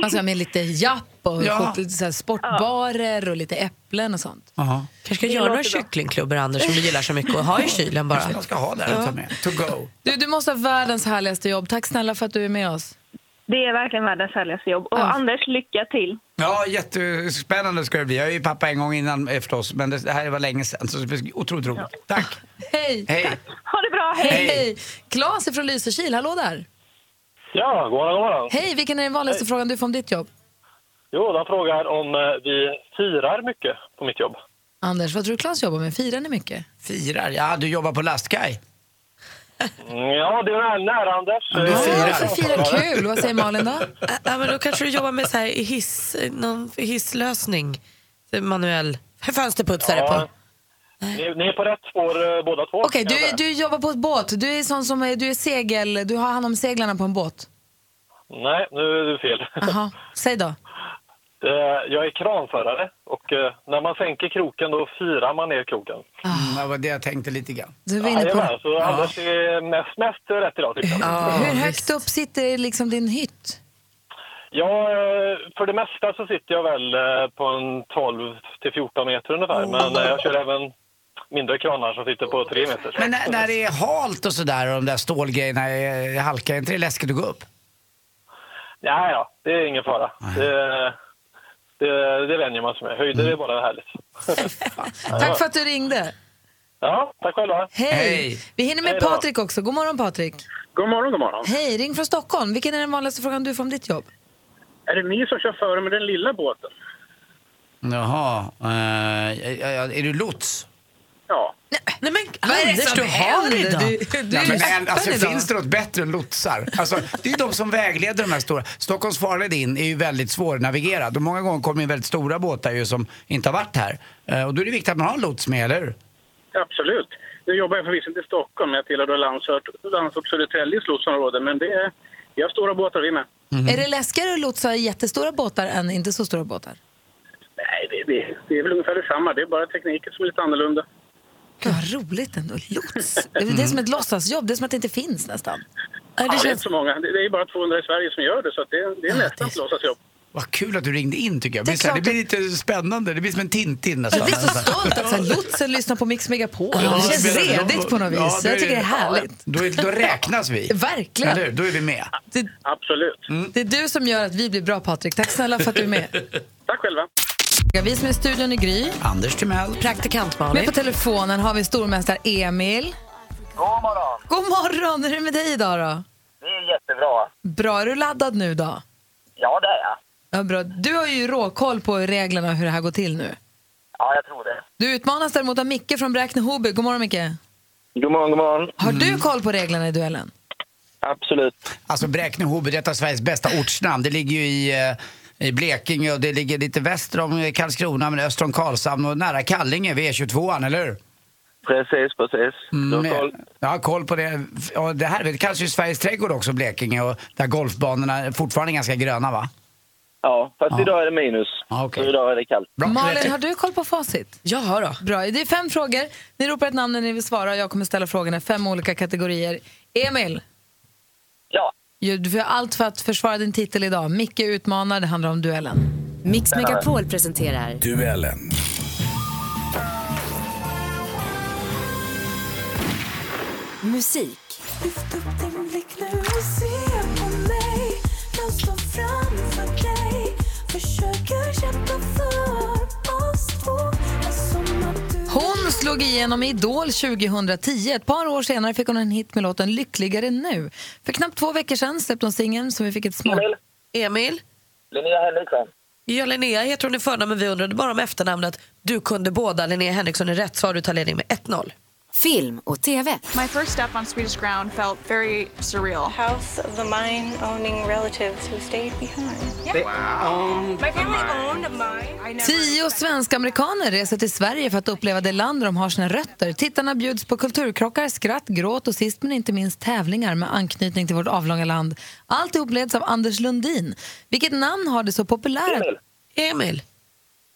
Speaker 1: Alltså med lite japp och
Speaker 2: Ja.
Speaker 1: lite så här sportbarer och lite äpplen och sånt.
Speaker 2: Jaha.
Speaker 3: kanske ska göra några kycklingklubbor, Anders, som du gillar så mycket. Och ha i kylen bara.
Speaker 2: Jag ska ha där och ta med. To go.
Speaker 1: Du, du måste ha världens härligaste jobb. Tack snälla för att du är med oss.
Speaker 5: Det är verkligen världens härligaste jobb. Och
Speaker 1: Ja.
Speaker 5: Anders, lycka till!
Speaker 2: Ja, jättespännande ska det bli. Jag är ju pappa en gång innan eh, förstås, men det det här var länge sedan så det blir otroligt roligt. Tack!
Speaker 1: Hej!
Speaker 2: Hej!
Speaker 5: Ha det bra, hej!
Speaker 1: Hej! Klas är från Lysekil, hallå där!
Speaker 8: Ja, goddag, goddag.
Speaker 1: Hej, vilken är den vanligaste frågan du får om ditt jobb?
Speaker 8: Jo, de frågar om eh, vi firar mycket på mitt jobb.
Speaker 1: Anders, vad tror du Klas jobbar med? Firar ni mycket?
Speaker 2: Firar? Ja, du jobbar på lastkaj.
Speaker 8: Mm, Ja, det är nä- nära Anders.
Speaker 2: du
Speaker 8: Eh,
Speaker 2: firar.
Speaker 1: Ja, för firar kul! Vad säger Malin då?
Speaker 3: Ä- Ja, men då kanske du jobbar med så här hiss, någon hisslösning. Manuell fönsterputsare
Speaker 8: Ja.
Speaker 3: på.
Speaker 8: Ni, ni är på rätt spår eh, båda två.
Speaker 1: Okej,
Speaker 8: kan jag
Speaker 1: du,
Speaker 8: säga.
Speaker 1: du jobbar på ett båt. Du är sån som är, du är segel, du har hand om seglarna på en båt.
Speaker 8: Nej, nu är du fel.
Speaker 1: Aha. Säg då.
Speaker 8: Eh, Jag är kranförare och eh, när man sänker kroken då firar man ner kroken.
Speaker 2: Mm, det var det jag tänkte lite grann.
Speaker 1: Du var inne på
Speaker 8: Jajamän, så Anders är mest, mest rätt idag tycker jag.
Speaker 1: Hur högt upp sitter liksom din hytt?
Speaker 8: Ja, eh, för det mesta så sitter jag väl eh, på en 12 till 14 meter ungefär.
Speaker 1: Mm.
Speaker 8: Men eh, jag kör även mindre kranar som sitter på 3 meter.
Speaker 2: Men när, när det är halt och sådär och de där stålgrejerna är, är halka, är inte det läskigt att gå upp?
Speaker 8: Nej, ja, det är ingen fara. Det, det, det vänjer man sig med. Höjder är bara härligt.
Speaker 1: Mm. Tack för att du ringde.
Speaker 8: Ja, tack själva.
Speaker 1: Hej!
Speaker 2: Hej.
Speaker 1: Vi hinner med
Speaker 8: Hej då.
Speaker 1: Patrik också. God morgon Patrik.
Speaker 8: God morgon, god morgon.
Speaker 1: Hej, ring från Stockholm. Vilken är den vanligaste frågan du får om ditt jobb?
Speaker 8: Är det ni som kör före med den lilla båten?
Speaker 2: Jaha, eh, ja, ja, är du lots?
Speaker 8: Ja.
Speaker 3: Nej men Anders, du har det idag.
Speaker 1: Du, du
Speaker 2: Ja,
Speaker 1: är
Speaker 2: men,
Speaker 1: öppen
Speaker 2: en- alltså,
Speaker 1: idag.
Speaker 2: finns det något bättre än lotsar? Alltså, det är ju de som vägleder de här stora. Stockholms farled in är ju väldigt svårnavigerad och många gånger kommer ju väldigt stora båtar ju som inte har varit här. Eh, Och då är det viktigt att man har en lots med, eller hur?
Speaker 8: Absolut. Nu jobbar jag förvisso inte i Stockholm, jag tillhör då Landsort, Landsort Södertäljes lotsområde, men det är, vi har stora båtar vi med.
Speaker 1: Mm-hmm.
Speaker 2: Mm-hmm.
Speaker 1: Är det läskigare att lotsa i jättestora båtar än inte så stora båtar?
Speaker 8: Nej, det, det, det är väl ungefär detsamma, det är bara tekniken som är lite annorlunda.
Speaker 2: Mm-hmm.
Speaker 1: Gud, vad roligt ändå. Lots. Det är som ett låtsasjobb. Det är som att det inte finns nästan. det
Speaker 9: det, ja, det är
Speaker 1: känns-
Speaker 9: inte så många. Det det är bara 200 i Sverige som gör det, så att det, det är nästan att låtsas jobb.
Speaker 2: Vad kul att du ringde in tycker jag. Det,
Speaker 1: Det är
Speaker 2: blir så här, det
Speaker 1: klart
Speaker 2: blir lite spännande. Det blir som en Tintin
Speaker 1: Jag
Speaker 2: nästan.
Speaker 1: blir så stolt att så här, lotsen lyssnar på Mix Megapol.
Speaker 2: Ja,
Speaker 1: Det
Speaker 2: det
Speaker 1: känns
Speaker 2: spelar roll.
Speaker 1: redigt på något vis.
Speaker 2: Ja, det
Speaker 1: jag tycker det är
Speaker 2: är-
Speaker 1: härligt.
Speaker 2: Då, är- då räknas vi.
Speaker 1: Verkligen.
Speaker 2: Eller hur? Då är vi med. Mm.
Speaker 9: Absolut.
Speaker 1: Mm. Det är du som gör att vi blir bra, Patrik. Tack snälla för att du är med.
Speaker 9: Tack själva.
Speaker 1: Vi som är i studion i Gry.
Speaker 2: Anders Timell.
Speaker 3: Praktikant
Speaker 1: Med
Speaker 3: Malin.
Speaker 1: på telefonen har vi stormästare Emil.
Speaker 10: God morgon!
Speaker 1: God morgon! Hur är det med dig idag då?
Speaker 10: Det är jättebra.
Speaker 1: Bra, är du laddad nu då?
Speaker 10: Ja, det är jag.
Speaker 1: Ja, bra. Du har ju råkoll på reglerna och hur det här går till nu.
Speaker 10: Ja, jag tror det.
Speaker 1: Du utmanas däremot av Micke från Bräkne-Hoby. God morgon Micke!
Speaker 10: God morgon, god morgon.
Speaker 1: Har
Speaker 8: Mm.
Speaker 1: du koll på reglerna i duellen?
Speaker 10: Absolut.
Speaker 2: Alltså Bräkne-Hoby, det är ett av Sveriges bästa ortsnamn. Det ligger ju i, eh, i Blekinge och det ligger lite väster om eh, Karlskrona men öster om Karlshamn och nära Kallinge vid E22, eller hur?
Speaker 10: Mm. Precis, precis. Du har koll.
Speaker 2: Mm. Jag har koll på det. Ja, det här det kallas ju Sveriges trädgård också, Blekinge, och där golfbanorna är fortfarande ganska gröna, va?
Speaker 10: Ja, fast
Speaker 2: Ja.
Speaker 10: idag är det minus.
Speaker 2: Ja, okej.
Speaker 10: Så idag är det kallt.
Speaker 2: Bra.
Speaker 1: Malin, har du koll på facit?
Speaker 3: Ja, hörru.
Speaker 1: Bra, det är fem frågor. Ni ropar ett namn när ni vill svara och jag kommer ställa frågorna i fem olika kategorier. Emil,
Speaker 10: Ja.
Speaker 1: ju- du får göra allt för att försvara din titel idag. Micke utmanar, det handlar om duellen.
Speaker 11: Mix Megapol presenterar
Speaker 12: Duellen.
Speaker 1: Mm.
Speaker 11: musik.
Speaker 1: Hon slog igenom i Idol 2010. Ett par år senare fick hon en hit med låten Lyckligare nu. För knappt två veckor sedan släppte hon singeln som vi fick ett smak...
Speaker 10: Emil.
Speaker 3: Emil.
Speaker 10: Linnea Henriksson.
Speaker 3: Ja, Linnea heter hon i förnamn, men vi undrade bara om efternamnet. Du kunde båda. Linnea Henriksson är rätt svar. Du tar ledning med 1-0.
Speaker 11: Film och TV.
Speaker 13: My first step on Swedish ground felt very surreal. House of the mine owning relatives who stayed behind. My family owned a mine. I never
Speaker 1: Tio svensk-amerikaner reser till Sverige för att uppleva det land där de har sina rötter. Tittarna bjuds på kulturkrockar, skratt, gråt och sist men inte minst tävlingar med anknytning till vårt avlånga land. Alltihop leds av Anders Lundin. Vilket namn har det så populära...
Speaker 10: Emil.
Speaker 3: Emil.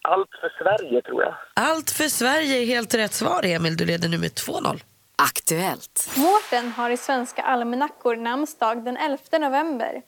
Speaker 10: Allt för Sverige, tror jag.
Speaker 3: Allt för Sverige är helt rätt svar, Emil. Du leder nu med 2-0.
Speaker 11: Aktuellt.
Speaker 14: Mårten har i svenska almanackor namnsdag den 11 november.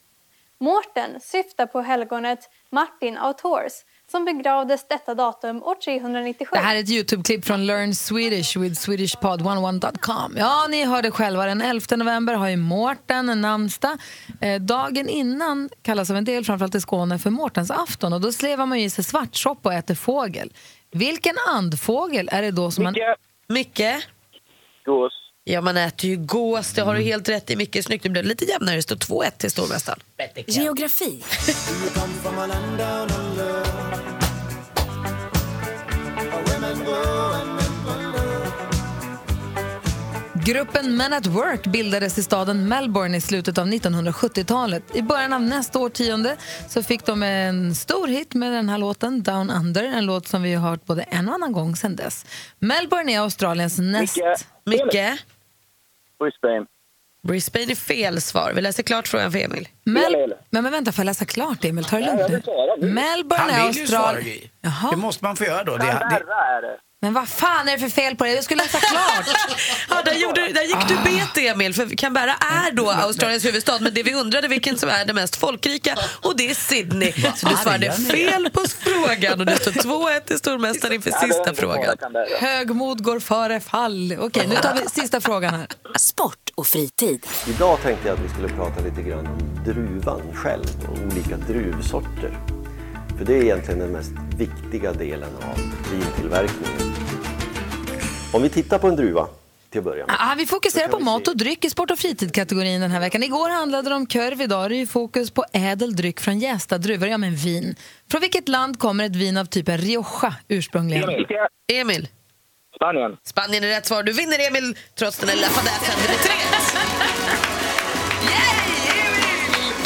Speaker 14: Mårten syftar på helgonet Martin av Tours som begravdes detta datum år 397.
Speaker 1: Det här är ett Youtube-klipp från Learn Swedish with swedishpod11.com. Ja, ni hörde själva. Den 11 november har ju Mårten en namnsdag. Eh, dagen innan kallas av en del, framförallt i Skåne, för Mårtens afton. Och då slevar man ju i sig svartsoppa och äter fågel. Vilken andfågel är det då som man...
Speaker 3: Micke?
Speaker 10: Gås.
Speaker 3: Ja, man äter ju gås. Det har du helt rätt i, Micke. Snyggt. Det blev lite jämnare. Det står 2-1 till stormästaren.
Speaker 11: Geografi.
Speaker 1: Gruppen Men at Work bildades i staden Melbourne i slutet av 1970-talet. I början av nästa årtionde så fick de en stor hit med den här låten, Down Under, en låt som vi har hört både en och annan gång sedan dess. Melbourne är Australiens näst...
Speaker 3: Micke?
Speaker 10: Brisbane.
Speaker 3: Brisbane är fel svar. Vi läser klart frågan för Emil.
Speaker 1: Mel... Men, men vänta, får jag läsa klart Emil? Ta det lugnt nu. Melbourne är
Speaker 2: Han vill ju svara,
Speaker 1: Australien...
Speaker 2: Gry. Det måste man få göra då. Det, det,
Speaker 10: är det.
Speaker 1: Men vad fan är det för fel på det? Jag skulle läsa klart!
Speaker 3: Ja, där, gjorde, där gick du bet, Emil. För Canberra är då Australiens huvudstad, men det vi undrade vilken som är den mest folkrika och det är Sydney. Så du svarade fel på frågan och det står 2-1 till stormästaren inför sista frågan.
Speaker 1: Högmod går före fall. Okej, nu tar vi sista frågan här.
Speaker 11: Sport och fritid.
Speaker 15: Idag tänkte jag att vi skulle prata lite grann om druvan själv och olika druvsorter. För det är egentligen den mest viktiga delen av vintillverkningen. Om vi tittar på en druva till att börja med.
Speaker 1: Ja, Ah, vi fokuserar på mat och dryck i sport och fritidkategorin den här veckan. Igår handlade det om korv, idag är det ju fokus på ädel dryck från jästa druvor, ja men vin. Från vilket land kommer ett vin av typen Rioja ursprungligen?
Speaker 3: Emil,
Speaker 10: Spanien.
Speaker 3: Spanien är rätt svar. Du vinner, Emil, trots den här lapadäsen. Det är 3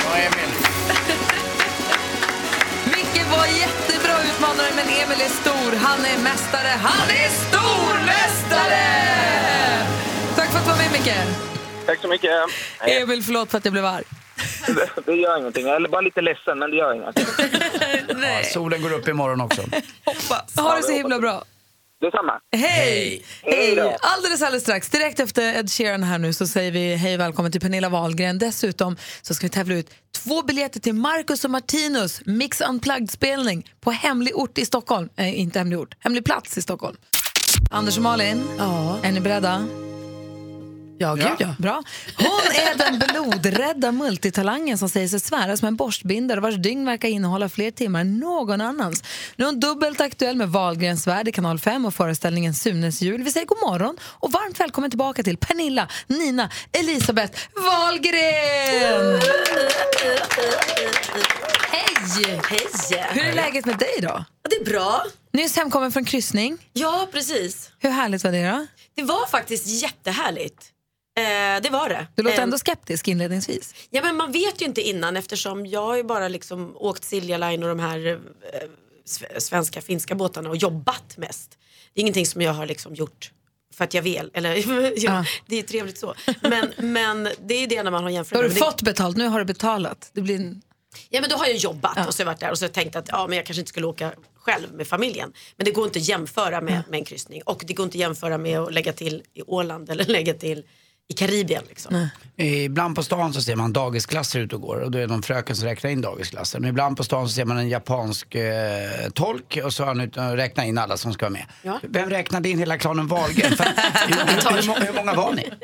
Speaker 2: ja, Emil.
Speaker 1: Micke var jättebra utmanare, men Emil är stor. Han är mästare. Han är stormästare! Tack för att du var med, Micke.
Speaker 10: Tack så mycket.
Speaker 1: Emil, förlåt för att jag blev arg.
Speaker 10: Det gör ingenting. Jag är bara lite ledsen, men det gör ingenting.
Speaker 2: Ja, solen går upp imorgon också.
Speaker 3: Hoppas.
Speaker 1: Ha det så himla bra.
Speaker 10: Detsamma.
Speaker 1: Hej!
Speaker 10: Hej då.
Speaker 1: Alldeles, alldeles strax, direkt efter Ed Sheeran här nu så säger vi hej och välkommen till Pernilla Wahlgren. Dessutom så ska vi tävla ut två biljetter till Marcus och Martinus Mix Unplugged-spelning på hemlig ort i Stockholm. Eh, inte hemlig ort, hemlig plats i Stockholm. Anders och Malin, är ni beredda? Ja, gud ja. Bra. Hon är den blodrädda multitalangen som säger sig svära som en borstbindare vars dygn verkar innehålla fler timmar än någon annans. Nu är hon dubbelt aktuell med Wahlgrens värld i kanal 5 och föreställningen Sunes jul. Vi säger god morgon och varmt välkommen tillbaka till Pernilla, Nina, Elisabeth Wahlgren! Hej!
Speaker 12: Hej!
Speaker 1: Hur är läget med dig då?
Speaker 12: Det är bra.
Speaker 1: Nyss hemkommen från kryssning.
Speaker 12: Ja, precis.
Speaker 1: Hur härligt var det då?
Speaker 12: Det var faktiskt jättehärligt. Eh, det var det.
Speaker 1: Du låter
Speaker 12: Eh,
Speaker 1: ändå skeptisk inledningsvis.
Speaker 12: Ja, men man vet ju inte innan eftersom jag har ju bara liksom åkt Silja Line och de här eh, sve- svenska, finska båtarna och jobbat mest. Det är ingenting som jag har liksom gjort för att jag vill. Eller, ja, Det är trevligt så. Men, men det är ju det när man har jämfört.
Speaker 1: Då har du
Speaker 12: Men det,
Speaker 1: fått betalt, nu har du betalat. Det blir en...
Speaker 12: Ja men då har jag jobbat och så har jag varit där och så har jag tänkt att ja, men jag kanske inte skulle åka själv med familjen. Men det går inte att jämföra med, med en kryssning och det går inte att jämföra med att lägga till i Åland eller lägga till i Karibien. Liksom.
Speaker 2: Ibland på stan så ser man dagisklasser ute och går och då är det någon fröken som räknar in dagisklasser. Men ibland på stan så ser man en japansk eh, tolk och så har han ut- räknat in alla som ska vara med.
Speaker 12: Ja.
Speaker 2: Vem räknade in hela klanen Wahlgren? För- hur, hur, hur, många- hur många var ni?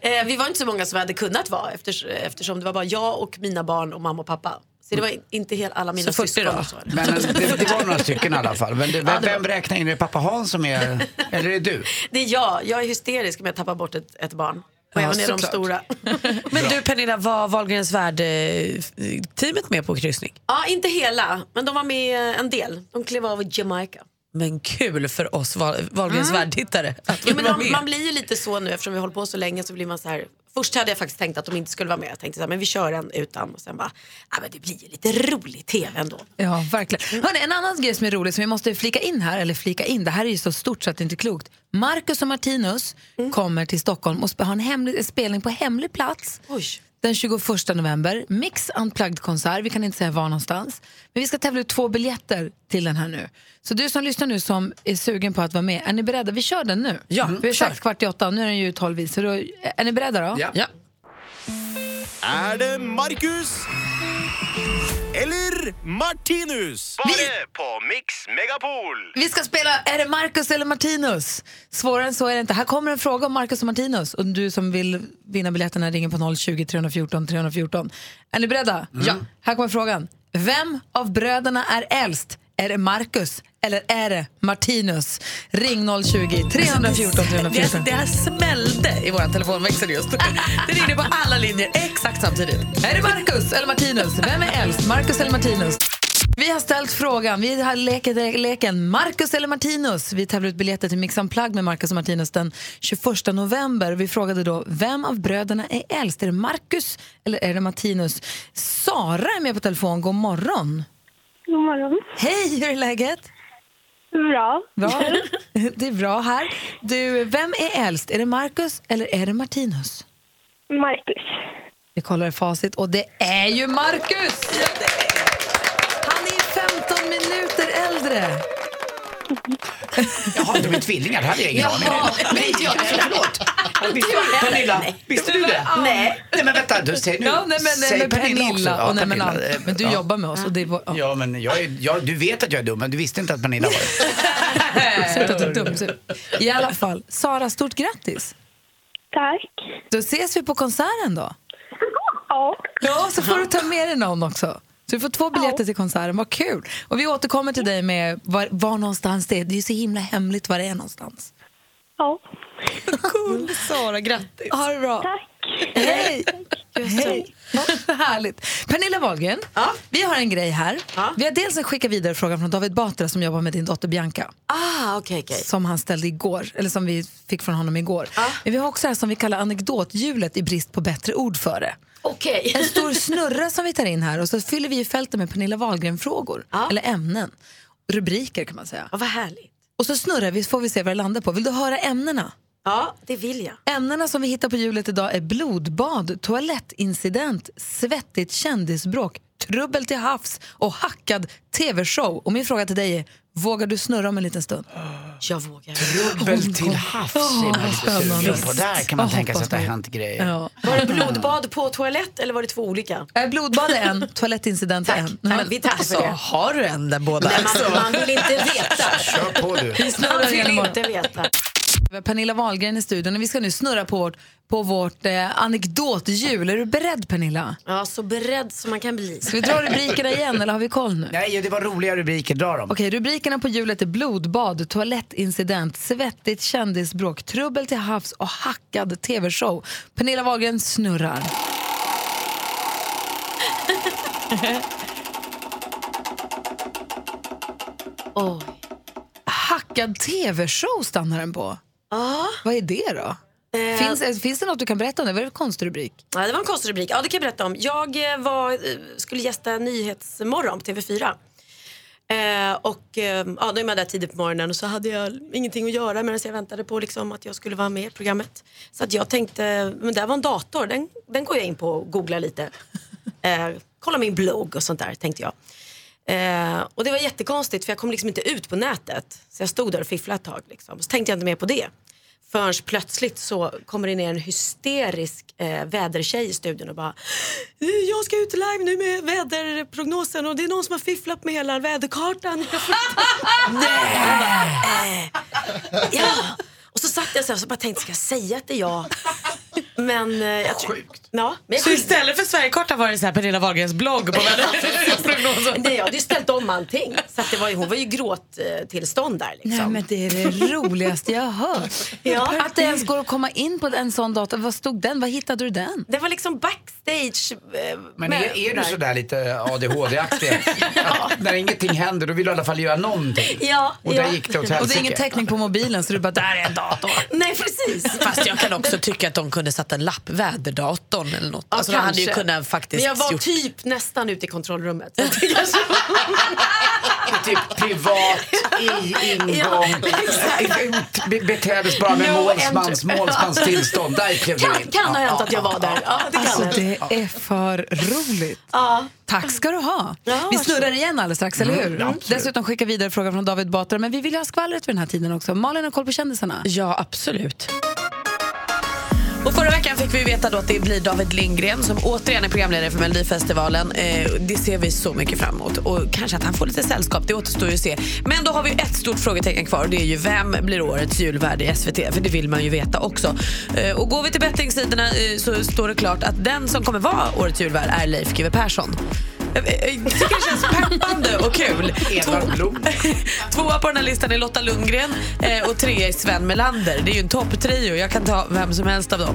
Speaker 12: Eh, vi var inte så många som vi hade kunnat vara efters, eftersom det var bara jag och mina barn och mamma och pappa. Så det var in- inte helt alla mina syskon. och Så
Speaker 2: Men eh, det, det var några stycken i alla fall. Men det, vem, vem räknar in? Är det pappa Hans som är... Eller är det du?
Speaker 12: Det är jag. Jag är hysterisk om jag tappar bort ett, ett barn. Och
Speaker 3: Ja,
Speaker 12: även är de
Speaker 3: såklart.
Speaker 12: stora.
Speaker 3: Men du Pernilla, var Wahlgrens värld-teamet med på kryssning?
Speaker 12: Ja, inte hela, men de var med en del. De klev av i Jamaica.
Speaker 3: Men kul för oss Wahl- Wahlgrens
Speaker 12: Mm.
Speaker 3: värld-tittare att
Speaker 12: Jo,
Speaker 3: vi
Speaker 12: men
Speaker 3: var
Speaker 12: man,
Speaker 3: med.
Speaker 12: man blir ju lite så nu eftersom vi håller på så länge så blir man så här. Först hade jag faktiskt tänkt att de inte skulle vara med. Jag tänkte så här, men vi kör en utan och sen bara, ja men det blir ju lite rolig tv ändå.
Speaker 1: Ja, verkligen. Hörrni, en annan grej som är rolig som vi måste flika in här, eller flika in, det här är ju så stort så att det inte är klokt. Marcus och Martinus
Speaker 3: Mm.
Speaker 1: kommer till Stockholm och sp- har en hemlig, spelning på hemlig plats den 21 november. Mix Unplugged-konsert, vi kan inte säga var någonstans. Men vi ska tävla ut två biljetter till den här nu. Så du som lyssnar nu som är sugen på att vara med, är ni beredda? Vi kör den nu. Ja, vi har sagt kvart i åtta, nu är den ju tolv i, så då, är ni beredda då?
Speaker 3: ja.
Speaker 16: Är det Marcus? Eller Martinus? Bara på Mix Megapol!
Speaker 1: Vi ska spela Är det Marcus eller Martinus? Svårare än så är det inte. Här kommer en fråga om Marcus och Martinus. Och du som vill vinna biljetterna ringer på 020 314 314. Är ni beredda? Ja. Här kommer frågan. Vem av bröderna är äldst? Är det Marcus eller är det Martinus? Ring 020 314 314.
Speaker 3: Det, det här smällde i vår telefonväxel just. Det ringde på alla linjer exakt samtidigt.
Speaker 1: Är det Marcus eller Martinus? Vem är äldst? Marcus eller Martinus? Vi har ställt frågan. Vi har leket leken Marcus eller Martinus. Vi tävlar ut biljetter till Mix Unplugged med Marcus och Martinus den 21 november. Vi frågade då vem av bröderna är äldst? Är det Marcus eller är det Martinus? Sara är med på telefon. God morgon.
Speaker 6: God morgon.
Speaker 1: Hej, hur är läget?
Speaker 6: Bra.
Speaker 1: Bra. Det är bra här. Du, vem är äldst? Är det Marcus eller är det Martinus?
Speaker 6: Marcus.
Speaker 1: Vi kollar i facit och det är ju Marcus! Han är 15 minuter äldre.
Speaker 2: Jaha, de är tvillingar. Det hade jag ingen aning om.
Speaker 1: Nej, inte jag. Förlåt.
Speaker 2: Visste du Pernilla? Visste du det?
Speaker 1: Nej.
Speaker 2: Nej men vänta, du, säg nu.
Speaker 1: Ja, nej, men- nej,
Speaker 2: säg
Speaker 1: men Pernilla
Speaker 2: också.
Speaker 1: och nej, men
Speaker 2: Pernilla.
Speaker 1: allt. Men du jobbar med oss och det var- ja.
Speaker 2: men jag, är- jag, du vet att jag är dum, men du visste inte att Pernilla var det.
Speaker 1: Sluta, du är dum. du. I alla fall, Sara, stort grattis.
Speaker 6: Tack.
Speaker 1: Då ses vi på konserten då.
Speaker 6: Ja.
Speaker 1: Ja, så får du ta med dig någon också. Så du får två biljetter till konserten, vad kul. Och vi återkommer till dig med var, var någonstans det är. Det är ju så himla hemligt var det är någonstans.
Speaker 6: Ja.
Speaker 1: Cool, Sara, grattis. Ha det bra. Tack. Hej. Hej. Ja, Härligt. Pernilla Wahlgren, vi har en grej här. Vi har dels en skicka vidare fråga från David Batra som jobbar med din dotter Bianca.
Speaker 12: Ah, okej, okej.
Speaker 1: Som han ställde igår, eller som vi fick från honom igår. Men vi har också det här som vi kallar anekdothjulet i brist på bättre ord för det.
Speaker 12: Okej.
Speaker 1: En stor snurra som vi tar in här och så fyller vi ju fältet med Pernilla Wahlgren-frågor. Eller ämnen. Rubriker kan man säga.
Speaker 12: Ja, vad härligt.
Speaker 1: Och så snurrar vi så får vi se vad det landar på. Vill du höra ämnena?
Speaker 12: Ja, det vill jag.
Speaker 1: Ämnena som vi hittar på hjulet idag är blodbad, toalettincident, svettigt kändisbråk, trubbel till havs och hackad tv-show. Och min fråga till dig är, vågar du snurra om en liten stund? Oh
Speaker 12: Jag vågar.
Speaker 2: Trubbel till havs
Speaker 1: Ja,
Speaker 2: är man lite
Speaker 1: spännande.
Speaker 2: sugen på. Där kan man
Speaker 1: Jag
Speaker 2: tänka sig
Speaker 1: hoppas
Speaker 2: att det har
Speaker 1: det.
Speaker 2: hänt grejer.
Speaker 1: Ja.
Speaker 12: Var det blodbad på toalett eller var det två olika?
Speaker 1: Eh, Blodbad är en, toalettincident är en.
Speaker 12: Tack, vi tackar för
Speaker 1: alltså,
Speaker 12: det.
Speaker 1: har du en där båda?
Speaker 12: Nej, man, man vill inte veta.
Speaker 2: Kör på du.
Speaker 1: Vi snurrar
Speaker 12: Man
Speaker 1: igen
Speaker 12: vill
Speaker 1: imorgon.
Speaker 12: inte veta.
Speaker 1: Vi har Pernilla Wahlgren i studion och vi ska nu snurra på vårt, på vårt eh, anekdothjul. Är du beredd Pernilla?
Speaker 12: Ja, så beredd som man kan bli.
Speaker 1: Ska vi dra rubrikerna igen eller har vi koll nu?
Speaker 2: Nej, det var roliga rubriker. Dra dem.
Speaker 1: Okej, rubrikerna på hjulet är blodbad, toalettincident, svettigt kändisbråk, trubbel till havs och hackad tv-show. Pernilla Wahlgren snurrar. Oj. Hackad tv-show stannar den på.
Speaker 12: Ja.
Speaker 1: Vad är det då?
Speaker 12: Eh.
Speaker 1: Finns, eh, finns det något du kan berätta om det? Vad är det för konstig rubrik?
Speaker 12: Ja, det var en konstig rubrik. Ja, det kan jag berätta om. Jag eh, var, eh, skulle gästa Nyhetsmorgon på TV4. Eh, och eh, ja, då är man där tidigt på morgonen och så hade jag ingenting att göra medan jag väntade på liksom, att jag skulle vara med i programmet. Så att jag tänkte, men där var en dator, den, den går jag in på och googlar lite. Eh, kolla min blogg och sånt där tänkte jag. Eh, och det var jättekonstigt för jag kom liksom inte ut på nätet. Så jag stod där och fifflade ett tag. Liksom. Så tänkte jag inte mer på det. Förrän plötsligt så kommer det ner en hysterisk eh, vädertjej i studion och bara "Eh, Jag ska ut live nu med väderprognosen och det är någon som har fifflat med hela väderkartan. Jag får... Nej! Jag bara, eh, ja. Och så satt jag så här och bara tänkte, ska jag säga att det är jag? Men eh, jag tror... Sjukt. Ja, men jag
Speaker 3: Så istället för Sverigekartan var det så här Pernilla Wahlgrens blogg på väderprognosen.
Speaker 12: Nej, jag hade ju ställt om allting. Så att det var ju, hon var ju gråttillstånd där. Liksom.
Speaker 1: Nej, men det är det roligaste jag har hört.
Speaker 12: Ja.
Speaker 1: Att det ens går att komma in på en sån dator. Vad stod den? Var hittade du den?
Speaker 12: Det var liksom backstage. eh,
Speaker 2: Men
Speaker 12: med-
Speaker 2: är, är
Speaker 12: där.
Speaker 2: du sådär lite ADHD-aktig? Att När ingenting händer då vill du i alla fall göra någonting.
Speaker 12: Ja,
Speaker 2: Och där
Speaker 12: ja.
Speaker 2: gick det åt
Speaker 1: Och det är ingen
Speaker 2: helsike.
Speaker 1: täckning på mobilen så du bara, där är en dator.
Speaker 12: Nej, precis.
Speaker 3: Fast jag kan också tycka att de kunde satt en lapp, väderdatorn eller något.
Speaker 12: Ja,
Speaker 3: alltså, de hade ju
Speaker 12: kanske.
Speaker 3: kunnat faktiskt
Speaker 12: Men jag var
Speaker 3: gjort...
Speaker 12: typ nästan ute i kontrollrummet. Så att det kanske
Speaker 2: Typ privat, i ingång,
Speaker 12: Ja,
Speaker 2: ut- be- beträddes bara
Speaker 12: No
Speaker 2: med målsmans,
Speaker 12: entry.
Speaker 2: målsmans tillstånd. Där klev du
Speaker 12: kan,
Speaker 2: in.
Speaker 12: kan ha
Speaker 2: Ja,
Speaker 12: hänt
Speaker 2: ja,
Speaker 12: att jag var där. Ja, det kan
Speaker 1: Alltså
Speaker 12: ha hänt.
Speaker 1: det är för roligt.
Speaker 12: Ja.
Speaker 1: Tack ska du ha.
Speaker 12: Ja,
Speaker 1: vi snurrar igen alldeles strax, eller
Speaker 2: Mm,
Speaker 1: hur? Dessutom skickar vidare frågan från David Batra. Men vi vill ju ha skvallret vid den här tiden också. Malin har koll på kändisarna.
Speaker 3: Ja, absolut. Och förra veckan fick vi veta då att det blir David Lindgren som återigen är programledare för Melodifestivalen. Eh, det ser vi så mycket fram emot. Och kanske att han får lite sällskap, det återstår ju att se. Men då har vi ett stort frågetecken kvar och det är ju vem blir årets julvärd i SVT? För det vill man ju veta också. Eh, och går vi till bettingsidorna eh, så står det klart att den som kommer vara årets julvärd är Leif GW Persson. Eh, eh, Jag tycker det känns peppande och kul. Två- Tvåa på den här listan är Lotta Lundgren eh, och trea är Sven Melander. Det är ju en topptrio. Jag kan ta vem som helst av dem.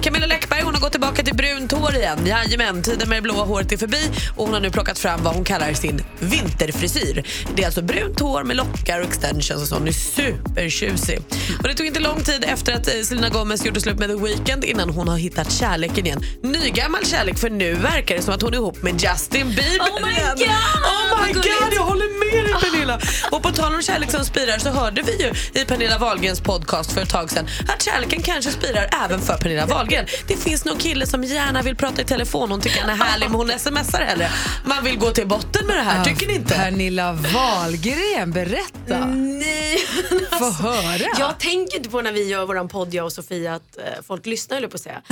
Speaker 3: Camilla Läckberg hon har gått tillbaka till brunt hår igen. Jajamän, tiden med det blåa håret är förbi och hon har nu plockat fram vad hon kallar sin vinterfrisyr. Det är alltså brunt hår med lockar och extensions och sånt. Hon är supertjusig. Och det tog inte lång tid efter att eh, Selena Gomez gjorde slut med The Weeknd innan hon har hittat kärleken igen. Nygammal kärlek för nu verkar det som att hon är ihop med Justin Bieber
Speaker 12: Oh my
Speaker 3: igen.
Speaker 12: God!
Speaker 3: Oh my
Speaker 12: Vad
Speaker 3: god!
Speaker 12: gulligt. Ah.
Speaker 3: Jag håller med dig Pernilla. Och på tal om kärlek som spirar så hörde vi ju i Pernilla Wahlgrens podcast för ett tag sedan att kärleken kanske spirar även för Pernilla Wahlgren. Det finns någon kille som gärna vill prata i telefon. Hon tycker han är härlig men hon smsar hellre. Man vill gå till botten med det här, tycker ni inte?
Speaker 1: Pernilla Wahlgren, berätta.
Speaker 12: Nej.
Speaker 1: Få höra.
Speaker 12: Jag tänker inte på när vi gör vår podd, jag och Sofia, att eh, folk lyssnar, eller på att säga.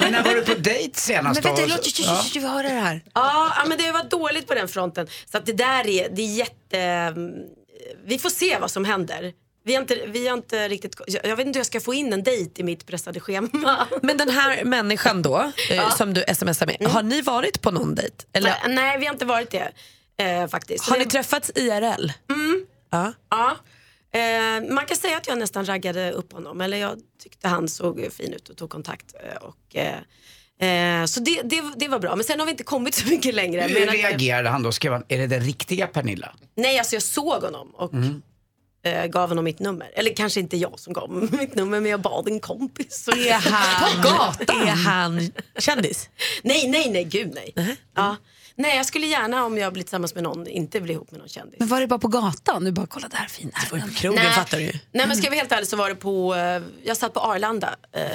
Speaker 2: Men när var du på dejt senast då? Ja.
Speaker 1: du har det här.
Speaker 12: Ja, ja, men det har varit dåligt på den fronten. Så att det där är, det är jätte... mm, Vi får se vad som händer. Vi har inte, vi har inte riktigt... Jag jag vet inte hur jag ska få in en dejt i mitt pressade schema.
Speaker 3: Men den här människan då, eh, som du smsar
Speaker 12: Mm.
Speaker 3: med, har ni varit på någon dejt? Eller
Speaker 12: Nej, Nej, vi har inte varit det eh, faktiskt.
Speaker 3: har
Speaker 12: Det-
Speaker 3: ni träffats IRL?
Speaker 12: Mm.
Speaker 3: Ja.
Speaker 12: Ja. Eh, man kan säga att jag nästan raggade upp honom. Eller jag tyckte han såg fin ut och tog kontakt. eh, Och, eh, eh, så det, det, det var bra. Men sen har vi inte kommit så mycket längre.
Speaker 2: Hur
Speaker 12: Men att-
Speaker 2: reagerade han då? Skrev han, är det den riktiga Pernilla?
Speaker 12: Nej, alltså jag såg honom och
Speaker 2: Mm.
Speaker 12: eh, gav honom mitt nummer. Eller kanske inte jag som gav honom mitt nummer, men jag bad en kompis.
Speaker 3: Är han,
Speaker 12: På gatan?
Speaker 3: är han kändis?
Speaker 12: Nej, nej, nej, gud nej. Ja. Nej, jag skulle gärna om jag blir tillsammans med någon inte bli ihop med någon kändis.
Speaker 1: Men var det bara på gatan? Du bara, kolla där fin är den.
Speaker 3: Krogen
Speaker 12: Nej.
Speaker 3: fattar du ju.
Speaker 12: Nej men ska jag vara helt ärlig så var det på, eh, jag satt på Arlanda. Eh,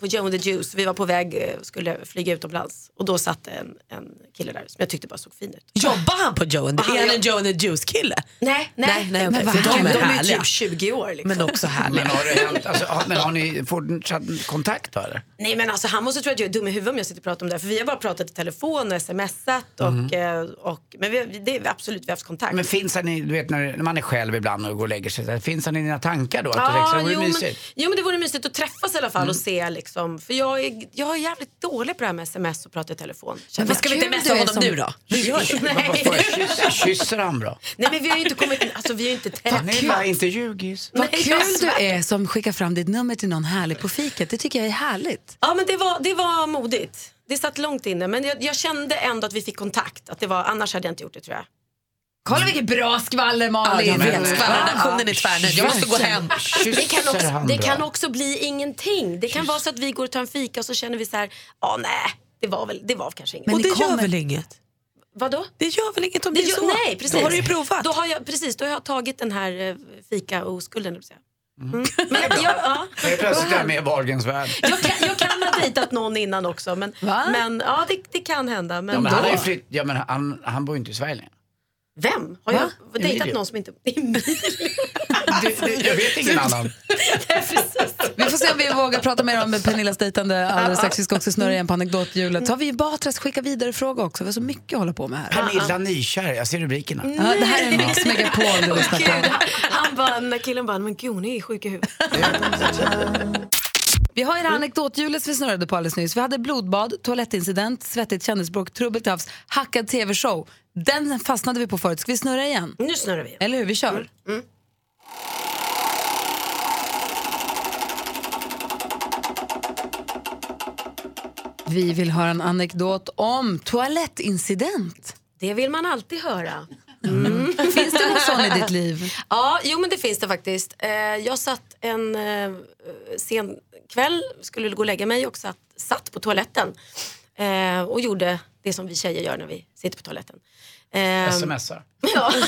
Speaker 12: på Joe and the Juice. Vi var på väg, eh, skulle flyga utomlands och då satt en, en kille där som jag tyckte bara såg fin ut.
Speaker 3: Jobbar han på Joe and the,
Speaker 12: Han
Speaker 3: är han en
Speaker 12: jobb-
Speaker 3: Joe and the Juice-kille?
Speaker 12: Nej, nej.
Speaker 3: Nej, nej, okej,
Speaker 12: Men
Speaker 3: för
Speaker 12: vad
Speaker 3: de är
Speaker 12: herregud, de är
Speaker 3: härliga.
Speaker 12: typ 20 år. Liksom.
Speaker 3: Men också härlig.
Speaker 2: Men har, det hänt, alltså, har, men har ni fortsatt kontakt då eller?
Speaker 12: Nej men alltså han måste tro att jag är dum i huvudet om jag sitter och pratar om det här. För vi har bara pratat i telefon och smsat. Och,
Speaker 2: Mhm.
Speaker 12: eh, och, men vi, det är absolut, vi har haft kontakt.
Speaker 2: Men finns han i, du vet när när man är själv ibland och går och lägger sig, så här, finns han i dina tankar då? Att du tänker så här, "Vad
Speaker 12: jo, men,
Speaker 2: mysigt." Mm.
Speaker 12: jo men det vore mysigt att träffas i alla fall och se liksom. För jag är, jag är jävligt dålig på det här med sms och prata i telefon. känner
Speaker 3: vad
Speaker 12: jag.
Speaker 3: ska vi inte
Speaker 12: Kul
Speaker 3: messa
Speaker 12: du är
Speaker 3: honom
Speaker 12: som-
Speaker 3: nu då? Vi gör det.
Speaker 12: Nej.
Speaker 2: Kysser han bra?
Speaker 12: Nej men vi har ju inte kommit in, alltså vi har ju inte
Speaker 2: Han är bara
Speaker 12: träffats.
Speaker 2: inte ljugis.
Speaker 1: Vad
Speaker 12: Nej, alltså,
Speaker 1: kul
Speaker 12: jag
Speaker 3: alltså,
Speaker 1: du
Speaker 12: svär.
Speaker 1: är som skickar fram ditt nummer till någon härlig på fiket. Det tycker jag är härligt.
Speaker 12: Ja men det var, det var modigt. Det satt långt inne men jag, jag kände ändå att vi fick kontakt. Att det var, annars hade jag inte gjort det tror jag.
Speaker 1: Kolla
Speaker 3: Mm.
Speaker 1: vilket bra skvaller Malin.
Speaker 12: Ja, men-
Speaker 3: Skvallernationen är tvärnöjd. Jag måste gå hem.
Speaker 12: Det kan,
Speaker 3: Kysser
Speaker 12: också,
Speaker 3: han
Speaker 12: det
Speaker 3: bra?
Speaker 12: kan också bli ingenting. Det kan vara så att vi går och tar en fika och så känner vi så här, ja nej, det var väl, det var kanske inget.
Speaker 3: Men och det gör väl inget?
Speaker 12: Vadå?
Speaker 3: Det gör väl inget om det,
Speaker 12: Det
Speaker 3: är
Speaker 12: gör-
Speaker 3: så?
Speaker 12: Nej, precis.
Speaker 3: Då har du ju provat.
Speaker 12: Då har jag, precis, då har jag tagit den här eh, fika och oskulden. höll jag på att säga. Mm. Men jag, jag, ja.
Speaker 2: Jag är plötsligt är jag med i Wahlgrens värld.
Speaker 12: jag, kan, jag kan ha dejtat någon innan också. Men, men ja, det, det kan hända. Men,
Speaker 2: Ja, men han, har ju flytt, ja, men han, han bor ju inte i Sverige längre.
Speaker 12: Vem? Har
Speaker 2: Va?
Speaker 12: jag dejtat
Speaker 2: Emilio.
Speaker 12: någon som inte... Emilio?
Speaker 2: Jag vet ingen annan.
Speaker 1: Vi får se om vi vågar prata mer om Pernillas dejtande alldeles strax. Vi ska också snurra igen på anekdothjulet. Så har vi ju Batras skicka vidare-fråga också. Vi har så mycket att hålla på med här.
Speaker 2: Pernilla Nykär, jag ser rubrikerna.
Speaker 1: Ja, det här är Mix Megapol du lyssnar på.
Speaker 12: Gud, han bara, den där killen bara, men gud hon är sjuk i huvudet.
Speaker 1: Vi har ju det här anekdothjulet som vi snurrade på alldeles nyss. Vi hade blodbad, toalettincident, svettigt kändisbråk, trubbel till havs, hackad tv-show. Den fastnade vi på förut. Ska vi snurra igen?
Speaker 12: Nu snurrar vi.
Speaker 1: Eller hur? Vi kör.
Speaker 12: Mm.
Speaker 1: Vi vill höra en anekdot om toalettincident. Mm.
Speaker 12: Det vill man alltid höra.
Speaker 1: Finns det någon sån i ditt liv?
Speaker 12: Ja, jo men det finns det faktiskt. Eh, Jag satt en eh, sen kväll, skulle gå och lägga mig och satt, satt på toaletten. eh, Och gjorde det som vi tjejer gör när vi sitter på toaletten. Ehm,
Speaker 2: Smsar.
Speaker 12: Ja. jo,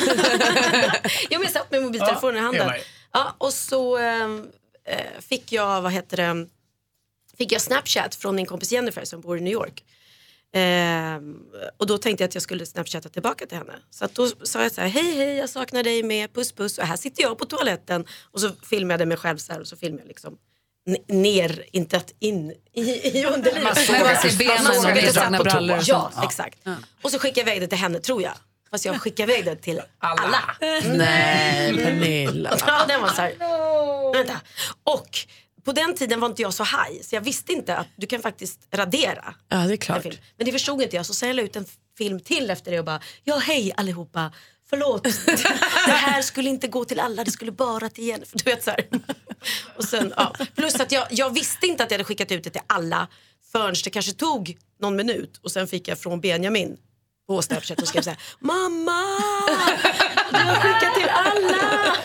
Speaker 12: men jag satt med mobiltelefonen
Speaker 2: Ja,
Speaker 12: i
Speaker 2: jag
Speaker 12: handen.
Speaker 2: med.
Speaker 12: Ja, och så ehm, eh, fick jag, vad heter det, fick jag Snapchat från min kompis Jennifer som bor i New York. Ehm, och då tänkte jag att jag skulle snapchatta tillbaka till henne. Så att då sa jag så här, hej hej jag saknar dig med, puss puss och här sitter jag på toaletten. Och så filmade jag mig själv så här och så filmade jag liksom n- ner, inte att in i, i underlivet.
Speaker 1: Man såg Men man att ser du- benen man såg och att du lite satt sådana på toa. brallor och
Speaker 12: Ja,
Speaker 1: sånt. Ja.
Speaker 12: exakt. Och så skickade jag iväg det till henne tror jag. Fast jag skickade iväg det till alla.
Speaker 1: Mm.
Speaker 3: Nej, Pernilla.
Speaker 12: Ja, den var så här. Vänta. Och på den tiden var inte jag så high så jag visste inte att du kan faktiskt radera.
Speaker 3: Ja, det är
Speaker 12: en
Speaker 3: klart.
Speaker 12: film. Men det förstod inte jag så sen la jag ut en film till efter det och bara ja hej allihopa. Förlåt, det här skulle inte gå till alla, det skulle bara till Jennifer. Du vet så här. Och sen, ja. Plus att jag, jag visste inte att jag hade skickat ut det till alla förrän det kanske tog någon minut och sen fick jag från Benjamin på Snapchat och skrev så här Mamma! Du har skickat till alla!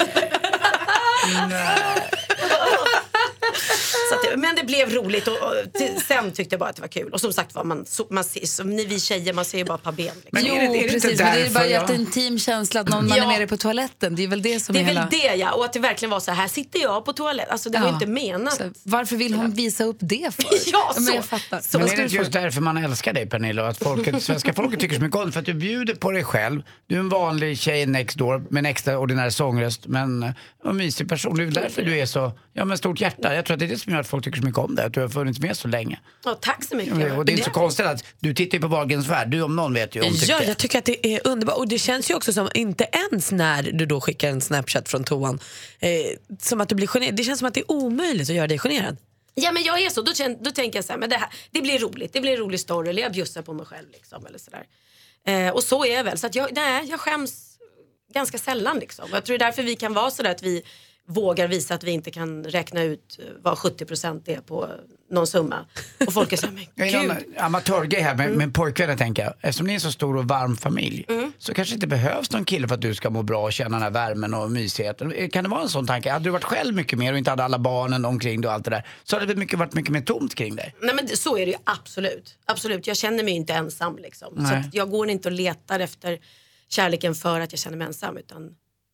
Speaker 12: Så att det, men det blev roligt och, och till, sen tyckte jag bara att det var kul. Och som sagt var, man, så, man ser, som ni vi tjejer, man ser ju bara ett par ben. Liksom.
Speaker 1: jo, precis. Men det är ju bara jätteintim känsla att någon man är
Speaker 12: Ja.
Speaker 1: med dig på toaletten. Det är väl det som
Speaker 12: Det är
Speaker 1: är hela...
Speaker 12: väl det ja, och att det verkligen var så här, här sitter jag på toaletten. Alltså det var
Speaker 1: Ja.
Speaker 12: ju inte menat.
Speaker 1: Så varför vill hon visa upp det för?
Speaker 12: Ja,
Speaker 1: Men
Speaker 12: så.
Speaker 1: jag fattar.
Speaker 12: Så.
Speaker 2: men
Speaker 1: Vad
Speaker 2: är
Speaker 1: ska
Speaker 2: det
Speaker 1: du
Speaker 2: inte just därför man älskar dig Pernilla? och Att folket, svenska folket tycker så mycket om dig? För att du bjuder på dig själv. Du är en vanlig tjej next door med en extraordinär sångröst. Men eh, en mysig person. Det är väl därför du är så, ja men stort hjärta. Jag tror att det är det som gör att folk tycker så mycket om dig. Att du har funnits med så länge.
Speaker 12: Ja, tack så mycket.
Speaker 2: Och det är inte så konstigt att du tittar ju på Wahlgrens värld. Du om någon vet ju om typ
Speaker 3: Ja, jag tycker att det är underbart. Och det känns ju också som, inte ens när du då skickar en snapchat från toan, eh, som att du blir generad. Det känns som att det är omöjligt att göra dig generad.
Speaker 12: Ja men jag är så, då, kän, då tänker jag så här, men det, här, det blir roligt, det blir en rolig story eller jag bjussar på mig själv liksom eller sådär. Eh, och så är jag väl, så att jag, nej, jag skäms ganska sällan liksom. Och Jag tror det är därför vi kan vara sådär att vi vågar visa att vi inte kan räkna ut eh, vad 70% är på någon summa. Och folk är såhär, men
Speaker 2: Jag är någon
Speaker 12: gud. Mm.
Speaker 2: amatörgrej här med, med pojkvännen tänker jag. Eftersom ni är en så stor och varm familj så kanske det inte behövs någon kille för att du ska må bra och känna den här värmen och mysigheten. Kan det vara en sån tanke? Hade du varit själv mycket mer och inte hade alla barnen omkring dig och allt det där så hade det mycket, varit mycket mer tomt kring dig.
Speaker 12: Nej men det- så är det ju absolut. Absolut, jag känner mig ju inte ensam liksom. Så
Speaker 2: Nej.
Speaker 12: att jag går inte och letar efter kärleken för att jag känner mig ensam utan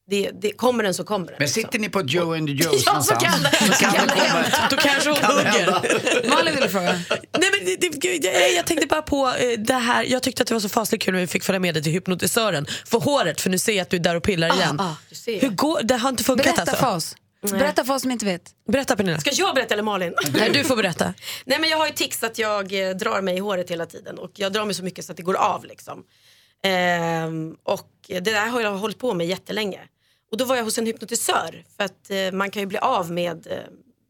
Speaker 12: det, det, kommer den så kommer den.
Speaker 2: Men sitter ni på Joe and Joe's
Speaker 12: Ja, så kan det, så kan det hända. Då kanske hon hugger.
Speaker 1: Malin ville fråga.
Speaker 3: Nej, men det, det, gud, jag, jag tänkte bara på eh, det här. Jag tyckte att det var så fasligt kul när vi fick följa med dig till hypnotisören. För håret, för nu ser jag att du är där och pillar
Speaker 12: Ah,
Speaker 3: igen.
Speaker 12: ah, du ser.
Speaker 3: Hur går, det har inte funkat
Speaker 12: Berätta
Speaker 3: alltså?
Speaker 12: för oss. Nej.
Speaker 3: Berätta,
Speaker 1: Berätta för oss som inte vet.
Speaker 3: berätta Pernilla.
Speaker 12: Ska jag berätta eller Malin?
Speaker 3: Nej, du får berätta.
Speaker 12: Nej men jag har ju tics att jag eh, drar mig i håret hela tiden och jag drar mig så mycket så att det går av liksom. Ehm, och det där har jag hållit på med jättelänge. Och då var jag hos en hypnotisör för att eh, man kan ju bli av med eh,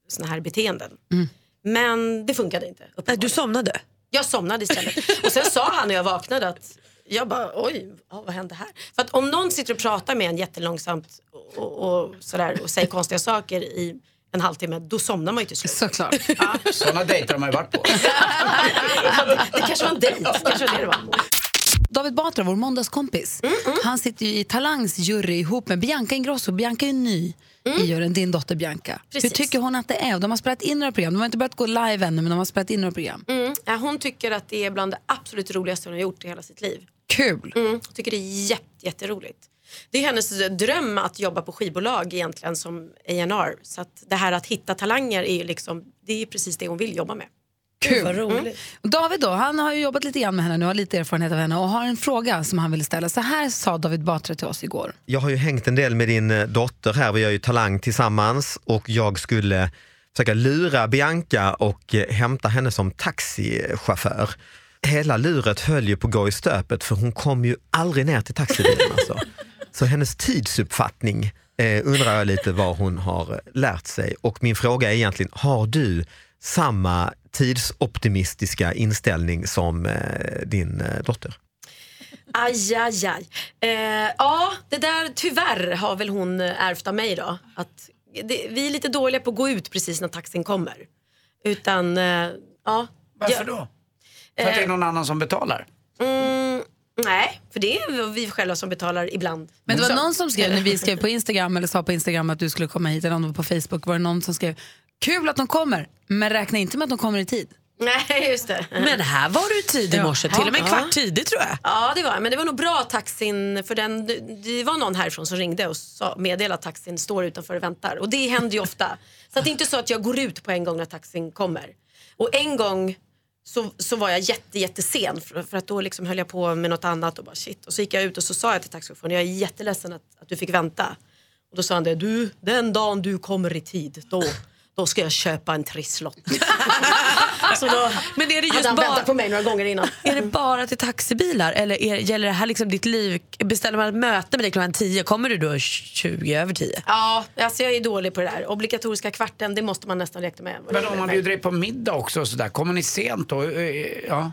Speaker 12: såna här beteenden.
Speaker 3: Mm.
Speaker 12: Men det funkade inte. Nej, du
Speaker 3: somnade?
Speaker 12: Jag somnade istället. Och sen sa han när jag vaknade att jag bara oj, ja, vad hände här? För att om någon sitter och pratar med en jättelångsamt och, och, och, sådär, och säger konstiga saker i en halvtimme, då somnar man ju till slut.
Speaker 1: Såklart.
Speaker 2: Sådana dejter har man ju varit på.
Speaker 12: Det kanske var en dejt. Det kanske var det det var.
Speaker 1: David Batra, vår måndagskompis,
Speaker 12: Mm,
Speaker 1: han sitter ju i Talangs jury ihop med Bianca Ingrosso. Bianca är ju ny i juryn, din dotter Bianca.
Speaker 12: Mm. Precis.
Speaker 1: Hur tycker hon att det är? De har spelat in några program. De har inte börjat gå live ännu, men de har spelat in några program.
Speaker 12: Mm. Ja, Hon tycker att det är bland det absolut roligaste hon har gjort i hela sitt liv.
Speaker 1: Kul!
Speaker 12: Mm. Hon tycker det är jätte, jätteroligt. Det är hennes dröm att jobba på skivbolag egentligen som A&R. Så att det här att hitta talanger är ju liksom, det är precis det hon vill jobba med.
Speaker 1: Kul.
Speaker 2: Mm.
Speaker 1: Och David då, han har ju jobbat lite grann med henne nu, har lite erfarenhet av henne och har en fråga som han ville ställa. Så här sa David Batra till oss igår.
Speaker 17: Jag har ju hängt en del med din eh, dotter här, vi gör ju Talang tillsammans och jag skulle försöka lura Bianca och eh, hämta henne som taxichaufför. Hela luret höll ju på att gå i stöpet för hon kom ju aldrig ner till taxibilen alltså. Så hennes tidsuppfattning eh, undrar jag lite vad hon har eh, lärt sig och min fråga är egentligen, har du samma tidsoptimistiska inställning som eh, din eh, dotter?
Speaker 12: Aj, aj, aj. Eh, ja, det där tyvärr har väl hon eh, ärvt av mig då. Att det, vi är lite dåliga på att gå ut precis när taxin kommer. Utan, eh, ja. Eh,
Speaker 2: Varför då? För att det är någon annan som betalar?
Speaker 12: Mm, nej, för det är vi själva som betalar ibland.
Speaker 1: Men det var
Speaker 12: också.
Speaker 1: någon som skrev, när vi skrev på Instagram eller sa på Instagram att du skulle komma hit, eller om det var på Facebook, var det någon som skrev Kul att de kommer, men räkna inte med att de kommer i tid.
Speaker 12: Nej, just det.
Speaker 3: Men här var du tidig i morse, till och med en kvart tidig tror jag.
Speaker 12: Mm. Ja, det var jag. Men det var nog bra att taxin, för den, det var någon härifrån som ringde och sa, meddelade att taxin står utanför och väntar. Och det händer ju ofta. Så att det är inte så att jag går ut på en gång när taxin kommer. Och en gång så, så var jag jätte, jättesen för, för att då liksom höll jag på med något annat och bara shit. Och så gick jag ut och så sa jag till taxichauffören, jag är jätteledsen att, att du fick vänta. Och då sa han det, du, den dagen du kommer i tid, då, då ska jag köpa en trisslott. så då,
Speaker 3: Alltså Men är det
Speaker 12: hade
Speaker 3: just
Speaker 12: han
Speaker 3: bara...
Speaker 12: väntat på mig några gånger innan.
Speaker 3: Är det bara till taxibilar eller är, gäller det här liksom ditt liv? Beställer man ett möte med dig klockan 10, kommer du då 20 över 10?
Speaker 12: Ja, alltså jag är dålig på det där. Obligatoriska kvarten, det måste man nästan räkna med.
Speaker 2: Men om man bjuder dig på middag också och sådär, kommer ni sent då? Eh, Ja.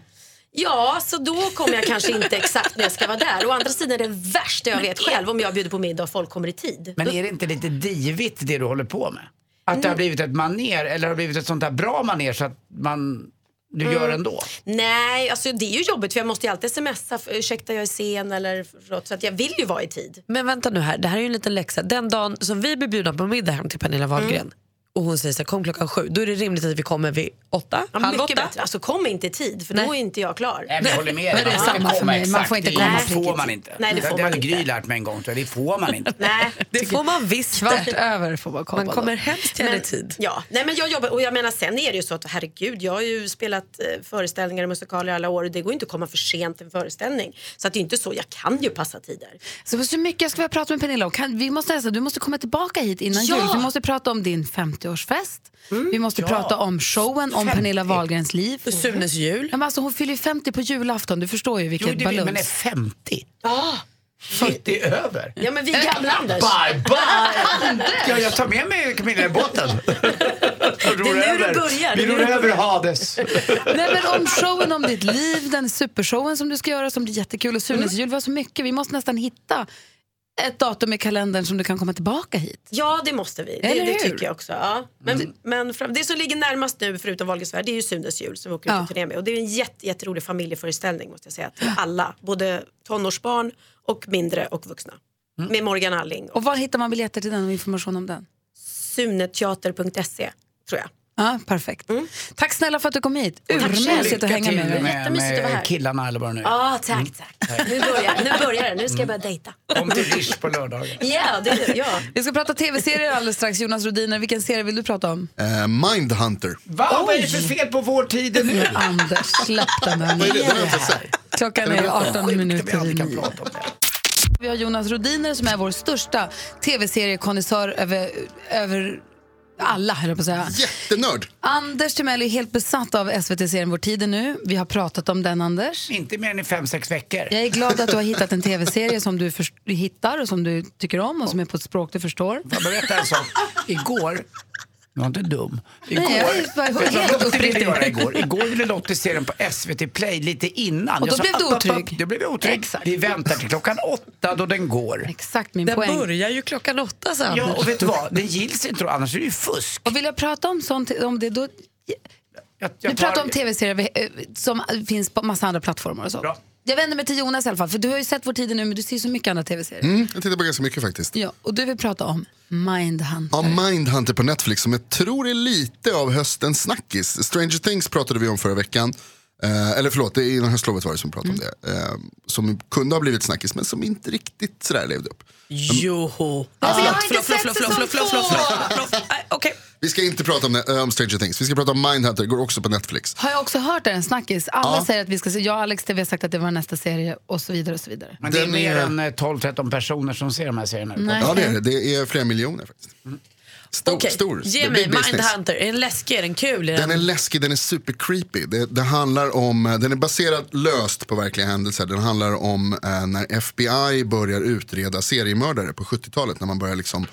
Speaker 12: Ja, så då kommer jag kanske inte exakt när jag ska vara där. Å andra sidan är det värsta jag vet själv om jag bjuder på middag och folk kommer i tid.
Speaker 2: Men är det inte lite divigt det du håller på med? Att
Speaker 12: Mm.
Speaker 2: det har blivit ett maner eller har blivit ett sånt där bra maner så att man, du gör
Speaker 12: Mm.
Speaker 2: ändå?
Speaker 12: Nej, alltså det är ju jobbigt för jag måste ju alltid smsa, för, ursäkta jag är sen eller förlåt, så att jag vill ju vara i tid.
Speaker 3: Men vänta nu här, det här är ju en liten läxa. Den dagen som vi blir bjudna på middag hem till Pernilla Wahlgren och hon säger så här, kom klockan sju, då är det rimligt att vi kommer vid åtta,
Speaker 12: Ja,
Speaker 3: halv
Speaker 12: mycket
Speaker 3: åtta.
Speaker 12: bättre. Alltså kom inte i tid för då är inte jag klar.
Speaker 2: Nej, men jag håller med
Speaker 12: Men
Speaker 2: dig.
Speaker 12: det
Speaker 2: Man
Speaker 12: är
Speaker 2: ska
Speaker 12: samma för
Speaker 2: komma
Speaker 12: mig. Man
Speaker 2: exakt
Speaker 12: får inte
Speaker 2: i-
Speaker 12: komma
Speaker 2: Det
Speaker 12: prickigt.
Speaker 2: får man inte.
Speaker 12: Nej, det får
Speaker 2: det
Speaker 12: man
Speaker 2: hade
Speaker 12: inte.
Speaker 2: Gry lärt mig en gång, tror jag. det får man inte.
Speaker 12: Nej.
Speaker 3: Det får man visst.
Speaker 1: Kvart över får man komma
Speaker 3: Man kommer
Speaker 1: då.
Speaker 3: hemskt gärna i tid.
Speaker 12: Ja, nej men jag jobbar och jag menar sen är det ju så att herregud jag har ju spelat eh, föreställningar och musikaler i alla år och det går ju inte att komma för sent till en föreställning. Så att det är inte så, jag kan ju passa tider.
Speaker 1: Så det var så mycket jag skulle vilja prata med Pernilla om. Kan, vi måste, alltså, du måste komma tillbaka hit innan
Speaker 12: Ja!
Speaker 1: jul. Vi måste prata om din 50-årsfest.
Speaker 2: Mm.
Speaker 1: vi måste
Speaker 12: ja.
Speaker 1: prata om showen, om
Speaker 12: 50.
Speaker 1: Pernilla Wahlgrens liv.
Speaker 3: Och Sunes jul.
Speaker 1: Men alltså, hon fyller ju 50 på julafton, du förstår ju
Speaker 2: Jo,
Speaker 1: vilket
Speaker 2: det vill, men är
Speaker 1: balans.
Speaker 2: 50?
Speaker 12: Ja.
Speaker 2: 40 Ah, är över?
Speaker 12: Ja men vi är gamla Anders.
Speaker 2: Bye, bye! Ja, jag tar med mig Camilla i båten. Det
Speaker 12: är nu det börjar.
Speaker 2: Vi
Speaker 12: Det är
Speaker 2: ror
Speaker 12: nu det
Speaker 2: över Hades.
Speaker 1: Nej, men om showen, om ditt liv, den supershowen som du ska göra som blir jättekul och
Speaker 12: Mm.
Speaker 1: Sunes jul. var så mycket. Vi måste nästan hitta ett datum i kalendern som du kan komma tillbaka hit.
Speaker 12: Ja det måste vi, det,
Speaker 1: Eller
Speaker 12: det
Speaker 1: hur?
Speaker 12: tycker jag också. Ja. Men,
Speaker 2: Mm.
Speaker 12: men fram, det som ligger närmast nu förutom Wahlgrens värld det är ju Sunes jul som vi åker ut
Speaker 1: Ja.
Speaker 12: på turné med. Och det är en jätte, jätterolig familjeföreställning måste jag säga till alla. Både tonårsbarn och mindre och vuxna.
Speaker 2: Mm.
Speaker 12: Med Morgan Alling och
Speaker 1: Och var hittar man biljetter till den och information om den?
Speaker 12: suneteater.se tror jag.
Speaker 1: Ja, perfekt.
Speaker 12: Mm.
Speaker 1: Tack snälla för att du kom hit. Urmysigt att hänga med dig.
Speaker 2: med, med killarna eller vad det nu är.
Speaker 12: Ja, tack, tack. Nu börjar, nu börjar det. Nu ska jag börja dejta.
Speaker 2: Kom till Rish på lördagar.
Speaker 12: Ja, det är det. Ja.
Speaker 1: Vi ska prata tv-serier alldeles strax. Jonas Rodiner, vilken serie vill du prata om?
Speaker 18: Eh, Mindhunter.
Speaker 2: Va, vad är det för fel på vår tid nu?
Speaker 1: Anders, släpp den här.
Speaker 18: Vad är det? Den har jag inte sett.
Speaker 1: Klockan är
Speaker 18: Den har jag inte
Speaker 1: 18 minuter i nio. Vi har Jonas Rodiner som är vår största tv-seriekonnässör över, över alla, höll jag på att säga.
Speaker 18: Jättenörd.
Speaker 1: Anders Timell är helt besatt av SVT-serien Vår tid är nu. Vi har pratat om den, Anders.
Speaker 2: Inte mer än i fem, sex veckor.
Speaker 1: Jag är glad att du har hittat en tv-serie som du förs- du hittar och som du tycker om och som är på ett språk du förstår.
Speaker 2: Får jag berätta en sak? Igår, du var inte dum. Igår,
Speaker 1: Nej, jag är bara
Speaker 2: vet du vad
Speaker 1: helt
Speaker 2: Lottie ville
Speaker 1: uppriktig.
Speaker 2: göra igår? Igår ville Lottie se den på SVT Play lite innan.
Speaker 1: Och då
Speaker 2: Jag sa,
Speaker 1: blev du
Speaker 2: "App, app, app."
Speaker 1: otrygg.
Speaker 2: Då blev jag otrygg. Vi väntar till klockan åtta då den går.
Speaker 1: Exakt min
Speaker 3: Den
Speaker 1: poäng.
Speaker 3: börjar ju klockan åtta så
Speaker 2: Ja,
Speaker 3: Anders.
Speaker 2: och vet du vad? Den gills inte, annars är det ju fusk.
Speaker 1: Och vill jag prata om sånt, om det då...
Speaker 2: Jag,
Speaker 1: Vi pratar om tv-serier vi- eh, som finns på massa andra plattformar och så. Jag vänder mig till Jonas i alla fall, för du har ju sett Vår tid är nu, men du ser så mycket andra tv-serier.
Speaker 18: Mm, jag tittar på ganska mycket faktiskt.
Speaker 1: Ja, och du vill prata om Mindhunter.
Speaker 18: Ja, Mindhunter på Netflix som jag tror är lite av höstens snackis. Stranger Things pratade vi om förra veckan. Eh, eller förlåt, det är innan höstlovet var det som pratade
Speaker 1: Mm.
Speaker 18: om det. Eh, som kunde ha blivit snackis men som inte riktigt sådär levde upp. Mm.
Speaker 3: Joho.
Speaker 18: Alltså,
Speaker 1: Äh,
Speaker 18: Vi ska inte prata om, det- eh, om Stranger Things, vi ska prata om Mindhunter, går också på Netflix.
Speaker 1: Har jag också hört det, en snackis. Alla
Speaker 18: Ja.
Speaker 1: säger att vi ska se, jag och Alex TV har sagt att det var nästa serie och så vidare och så vidare.
Speaker 2: Men det är
Speaker 18: Den
Speaker 2: mer
Speaker 18: är-
Speaker 2: än eh, 12-13 personer som ser de här serierna.
Speaker 1: Nej.
Speaker 18: Ja det är det, det är flera miljoner faktiskt. Stor,
Speaker 3: Okej,
Speaker 18: stor.
Speaker 3: Ge
Speaker 18: Big
Speaker 3: mig
Speaker 18: business.
Speaker 3: Mindhunter. Är den läskig? Är den kul? Är
Speaker 18: Den är
Speaker 3: den...
Speaker 18: läskig, den är super creepy. Det, det handlar om, eh, den är baserad löst på verkliga händelser. Den handlar om eh, när FBI börjar utreda seriemördare på 70-talet. När man börjar liksom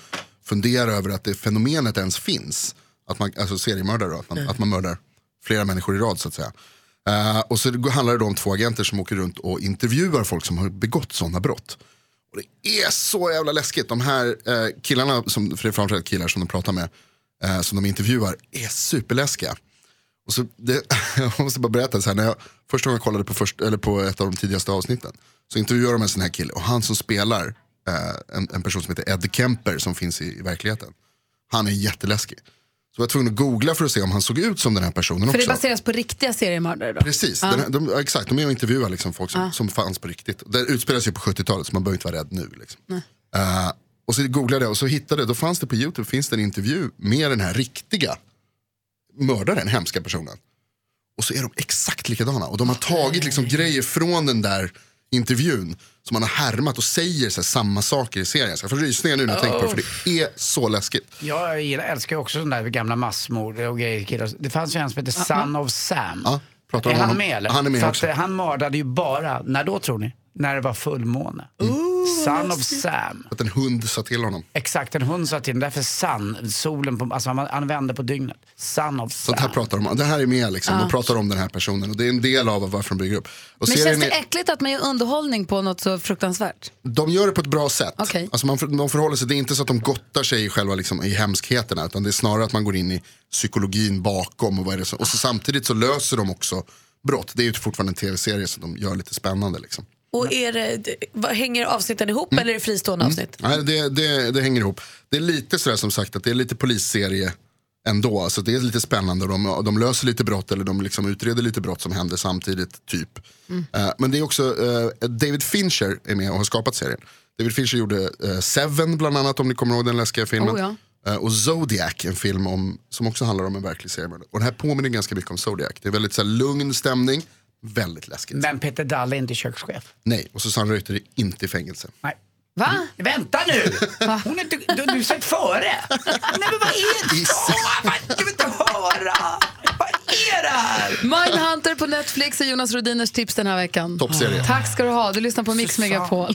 Speaker 18: fundera över att det fenomenet ens finns. Att man, alltså seriemördare, då, att man, att man mördar flera människor i rad så att säga. Eh, och så det- handlar det om två agenter som åker runt och intervjuar folk som har begått sådana brott. Och det är så jävla läskigt. De här eh, killarna, som, för det är framförallt killar som de pratar med, eh, som de intervjuar, är superläskiga. Och så det, jag måste bara berätta, så här, när jag, första gången jag kollade på, först, eller på ett av de tidigaste avsnitten så intervjuar de en sån här kille och han som spelar eh, en, en person som heter Ed Kemper som finns i, i verkligheten. Han är jätteläskig. Så jag var tvungen att googla för att se om han såg ut som den här personen
Speaker 1: För det
Speaker 18: också.
Speaker 1: baseras på riktiga seriemördare då?
Speaker 18: Precis,
Speaker 1: Ja.
Speaker 18: den här, de, ja, exakt. De är och intervjuar liksom folk som, som fanns på riktigt. Det utspelas ju på 70-talet så man behöver inte vara rädd nu. Liksom. Eh, och så googlade jag och så hittade jag, då fanns det på YouTube finns det en intervju med den här riktiga mördaren, hemska personen. Och så är de exakt likadana och de har tagit liksom grejer från den där intervjun som man har härmat och säger så här, samma saker i serien. Så jag får rysningar nu när jag tänker på det för
Speaker 2: Oh.
Speaker 18: det är så läskigt.
Speaker 2: Jag gillar, älskar ju också sådana där gamla massmord och grejer. killar. Det fanns ju en som hette Son of Sam.
Speaker 18: Ja, pratar
Speaker 2: är
Speaker 18: om
Speaker 2: han
Speaker 18: honom.
Speaker 2: med eller?
Speaker 18: Han är med
Speaker 2: För
Speaker 18: också.
Speaker 2: Att, eh, han mördade ju bara, när då tror ni? När det var fullmåne.
Speaker 18: Mm.
Speaker 2: Son of Sam.
Speaker 18: Att en hund sa till honom.
Speaker 2: Exakt, en hund sa till den. Därför sun, solen, på, alltså man använder på dygnet. Sun of Sam.
Speaker 18: Sånt här pratar de om. Det här är med liksom.
Speaker 1: Ja.
Speaker 18: De pratar om den här personen och det är en del av varför de bygger upp. Och
Speaker 1: Men
Speaker 18: serien
Speaker 1: känns det
Speaker 18: är-
Speaker 1: äckligt att man gör underhållning på något så fruktansvärt?
Speaker 18: De gör det på ett bra sätt.
Speaker 1: Okej.
Speaker 18: Alltså man, för- de förhåller sig, det är inte så att de gottar sig i själva liksom, i hemskheterna. Utan det är snarare att man går in i psykologin bakom. Och, vad är det som, och så, samtidigt så löser de också brott. Det är ju fortfarande en tv-serie så de gör lite spännande. Liksom.
Speaker 3: Och är det, d- vad- hänger avsnitten ihop
Speaker 18: Mm.
Speaker 3: eller är det fristående avsnitt?
Speaker 18: Nej, det, det, det hänger ihop. Det är lite sådär som sagt att det är lite polisserie ändå. Alltså det är lite spännande och de, de löser lite brott eller de liksom utreder lite brott som händer samtidigt. typ.
Speaker 1: Mm.
Speaker 18: Eh, men det är också, eh, David Fincher är med och har skapat serien. David Fincher gjorde eh, Seven bland annat om ni kommer ihåg den läskiga filmen.
Speaker 1: Oh, ja.
Speaker 18: Eh, och Zodiac, en film om, som också handlar om en verklig seriemördare. Och den här påminner ganska mycket om Zodiac. Det är väldigt så här, lugn stämning, väldigt läskigt.
Speaker 2: Men Peter Dalle är inte kökschef.
Speaker 18: Nej, och Susanne Reuter är inte i fängelse.
Speaker 2: Nej.
Speaker 1: Va?
Speaker 2: Vänta nu! Hon är inte, du, du är sett före. Nej men vad är det? Åh, vad- Jag vill inte höra. Vad är det här?
Speaker 1: Mindhunter på Netflix är Jonas Rodiners tips den här veckan.
Speaker 18: Toppserie.
Speaker 1: Tack ska du ha. Du lyssnar på Mix Megapol.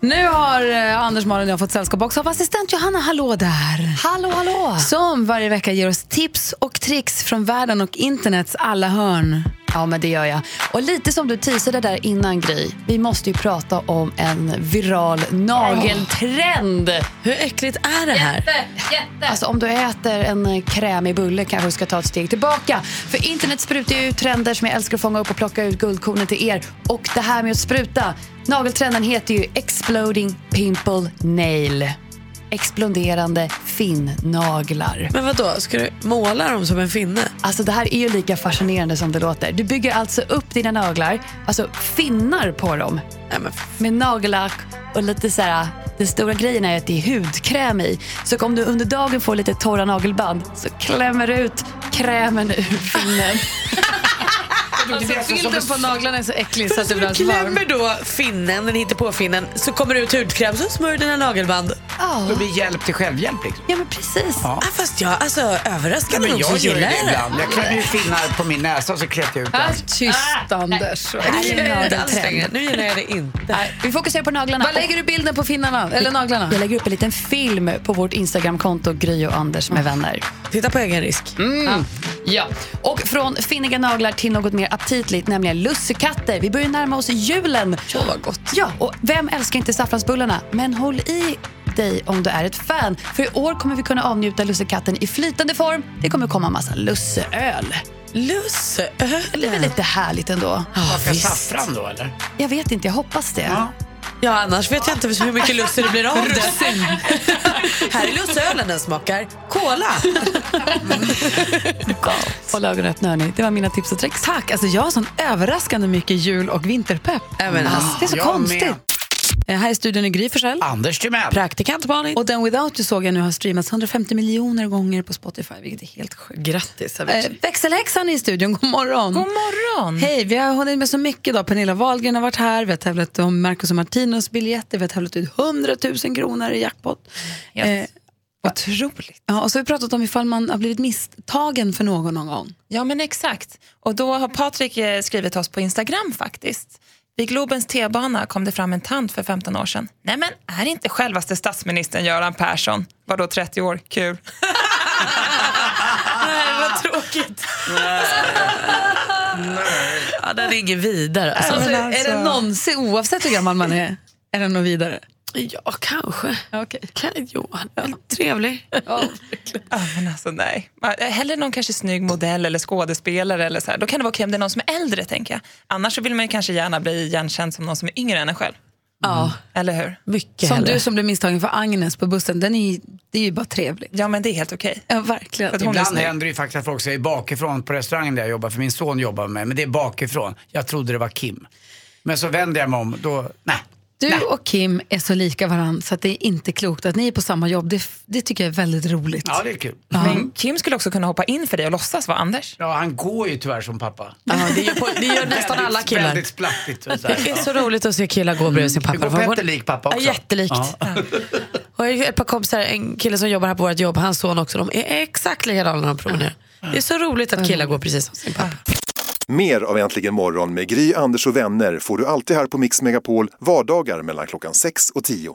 Speaker 1: Nu har eh, Anders, Malin och jag fått sällskap också av assistent Johanna. Hallå där!
Speaker 3: Hallå, hallå!
Speaker 1: Som varje vecka ger oss tips och tricks från världen och internets alla hörn.
Speaker 19: Ja, men det gör jag. Och lite som du teasade där innan Gry, vi måste ju prata om en viral nageltrend.
Speaker 3: Hur äckligt är det här?
Speaker 19: Alltså om du äter en eh, krämig bulle kanske du ska ta ett steg tillbaka. För internet sprutar ju ut trender som jag älskar att fånga upp och plocka ut guldkornen till er. Och det här med att spruta, nageltrenden heter ju Exploding Pimple Nail. Exploderande finnaglar.
Speaker 3: Men vad då? ska du måla dem som en finne?
Speaker 19: Alltså det här är ju lika fascinerande som det låter. Du bygger alltså upp dina naglar, alltså finnar på dem. Med nagellack och lite så här, den stora grejen är att det är hudkräm i. Så om du under dagen får lite torra nagelband så klämmer du ut krämen ur finnen.
Speaker 1: Alltså, bilden på naglarna är så äcklig så att det blir
Speaker 3: Du
Speaker 1: alldeles varmt.
Speaker 3: klämmer då finnen, den hittar på finnen, så kommer det ut hudkräm, så smörjer dina nagelband.
Speaker 19: Oh.
Speaker 2: Det blir hjälp till självhjälp liksom.
Speaker 19: Ja men precis.
Speaker 2: Ja.
Speaker 3: Ah, fast jag, alltså
Speaker 2: Ja,
Speaker 3: överraskande
Speaker 2: men
Speaker 3: nog så
Speaker 2: jag gör
Speaker 3: gillar
Speaker 2: det
Speaker 3: jag
Speaker 2: ibland.
Speaker 3: det.
Speaker 2: Jag klämmer ju finnar på min näsa och så klätter jag ut
Speaker 1: Ah,
Speaker 2: den.
Speaker 1: tyst Anders.
Speaker 19: Nej, det är inte alls längre.
Speaker 3: Nu gillar jag det inte.
Speaker 19: Nej, vi fokuserar på naglarna.
Speaker 1: Var lägger du bilden på finnarna? Eller naglarna?
Speaker 19: Jag lägger upp en liten film på vårt Instagramkonto Gry och Anders med vänner.
Speaker 3: Ah. Titta på egen risk.
Speaker 19: Mm. Ja. Och från finniga naglar till något mer aptitligt, nämligen lussekatter. Vi börjar närma oss julen. Åh, vad gott. Ja, och vem älskar inte saffransbullarna? Men håll i dig om du är ett fan. För i år kommer vi kunna avnjuta lussekatten i flytande form. Det kommer komma massa lusseöl.
Speaker 3: Lusseöl?
Speaker 19: Det är väl lite härligt ändå?
Speaker 2: Smakar saffran då eller?
Speaker 19: Jag vet inte, jag hoppas det.
Speaker 3: Ja, annars vet jag inte hur mycket lusser det blir av det.
Speaker 19: Russin.
Speaker 3: Här är lussölen den smakar. Kola.
Speaker 19: Håll ögonen öppna hörni. Det var mina tips och tricks.
Speaker 1: Tack! Alltså jag har sån överraskande mycket jul och vinterpepp.
Speaker 3: men
Speaker 1: Ah,
Speaker 3: alltså,
Speaker 1: det är så
Speaker 3: jag
Speaker 1: konstigt. Eh, Här i studion är Gry Forssell.
Speaker 2: Anders Timell.
Speaker 3: Praktikant Malin.
Speaker 1: Och Den Without You såg jag nu har streamats 150 miljoner gånger på Spotify, vilket är helt sjukt.
Speaker 3: Grattis
Speaker 1: Eh, växelhäxan är i studion, god morgon. God morgon. Hej, vi har hunnit med så mycket idag. Pernilla Wahlgren har varit här, vi har tävlat om Marcus och Martinos biljetter, vi har tävlat ut 100 000 kronor i jackpot. Eh,
Speaker 3: Otroligt.
Speaker 1: ja, och så har vi pratat om ifall man har blivit misstagen för någon någon gång.
Speaker 3: Ja
Speaker 1: men
Speaker 3: exakt.
Speaker 1: Och
Speaker 3: då har Patrik eh, skrivit oss på Instagram faktiskt. Vid Globens T-bana kom det fram en tant för 15 år sedan. Nej men är inte självaste statsministern Göran Persson? Vadå 30 år? Kul. Eh, Nej vad tråkigt.
Speaker 1: Ja, den är ingen vidare.
Speaker 3: alltså.
Speaker 1: Alltså,
Speaker 3: Men alltså-
Speaker 1: Är det någonsin, oavsett hur gammal man är, är den något vidare?
Speaker 3: Ja kanske.
Speaker 1: Okay.
Speaker 3: Kan, jo, han är trevlig.
Speaker 12: Ja, men alltså nej. Man- Hellre någon kanske snygg modell eller skådespelare. Eller så här. Då kan det vara okej om det är någon som är äldre. tänker jag. Annars så vill man ju kanske gärna bli igenkänd som någon som är yngre än en själv. Mm.
Speaker 1: Ja.
Speaker 12: Eller hur?
Speaker 1: Mycket som du som blev misstagen för Agnes på bussen, den är, ju- det är ju bara trevligt.
Speaker 12: Ja, men det är helt okej.
Speaker 1: Ja, verkligen.
Speaker 2: Ibland händer det ju faktiskt att folk säger bakifrån på restaurangen där jag jobbar, för min son jobbar med men det är bakifrån. Jag trodde det var Kim. Men så vänder jag mig om, då, nej.
Speaker 1: Du och Kim är så lika varandra så att det är inte klokt att ni är på samma jobb. Det, det tycker jag är väldigt roligt.
Speaker 2: Ja, det är kul.
Speaker 12: Men Kim skulle också kunna hoppa in för dig och låtsas vara Anders.
Speaker 2: Ja, han går ju tyvärr som pappa.
Speaker 3: det, gör på, det gör nästan alla
Speaker 2: Väldigt-
Speaker 3: killar.
Speaker 2: Väldigt splattigt. och
Speaker 3: Det är
Speaker 2: Ja.
Speaker 3: så roligt att se killar gå bredvid sin pappa.
Speaker 2: Hur går
Speaker 3: För-
Speaker 2: Petter lik pappa också?
Speaker 3: Ja, jättelikt.
Speaker 2: Ja.
Speaker 3: Och jag har ju ett par kompisar, en kille som jobbar här på vårt jobb, hans son också, de är exakt likadana när de promenerar. Det är så roligt att killar går precis som sin pappa.
Speaker 7: Mer av Äntligen morgon med Gry, Anders och vänner får du alltid här på Mix Megapol vardagar mellan klockan 6 och 10.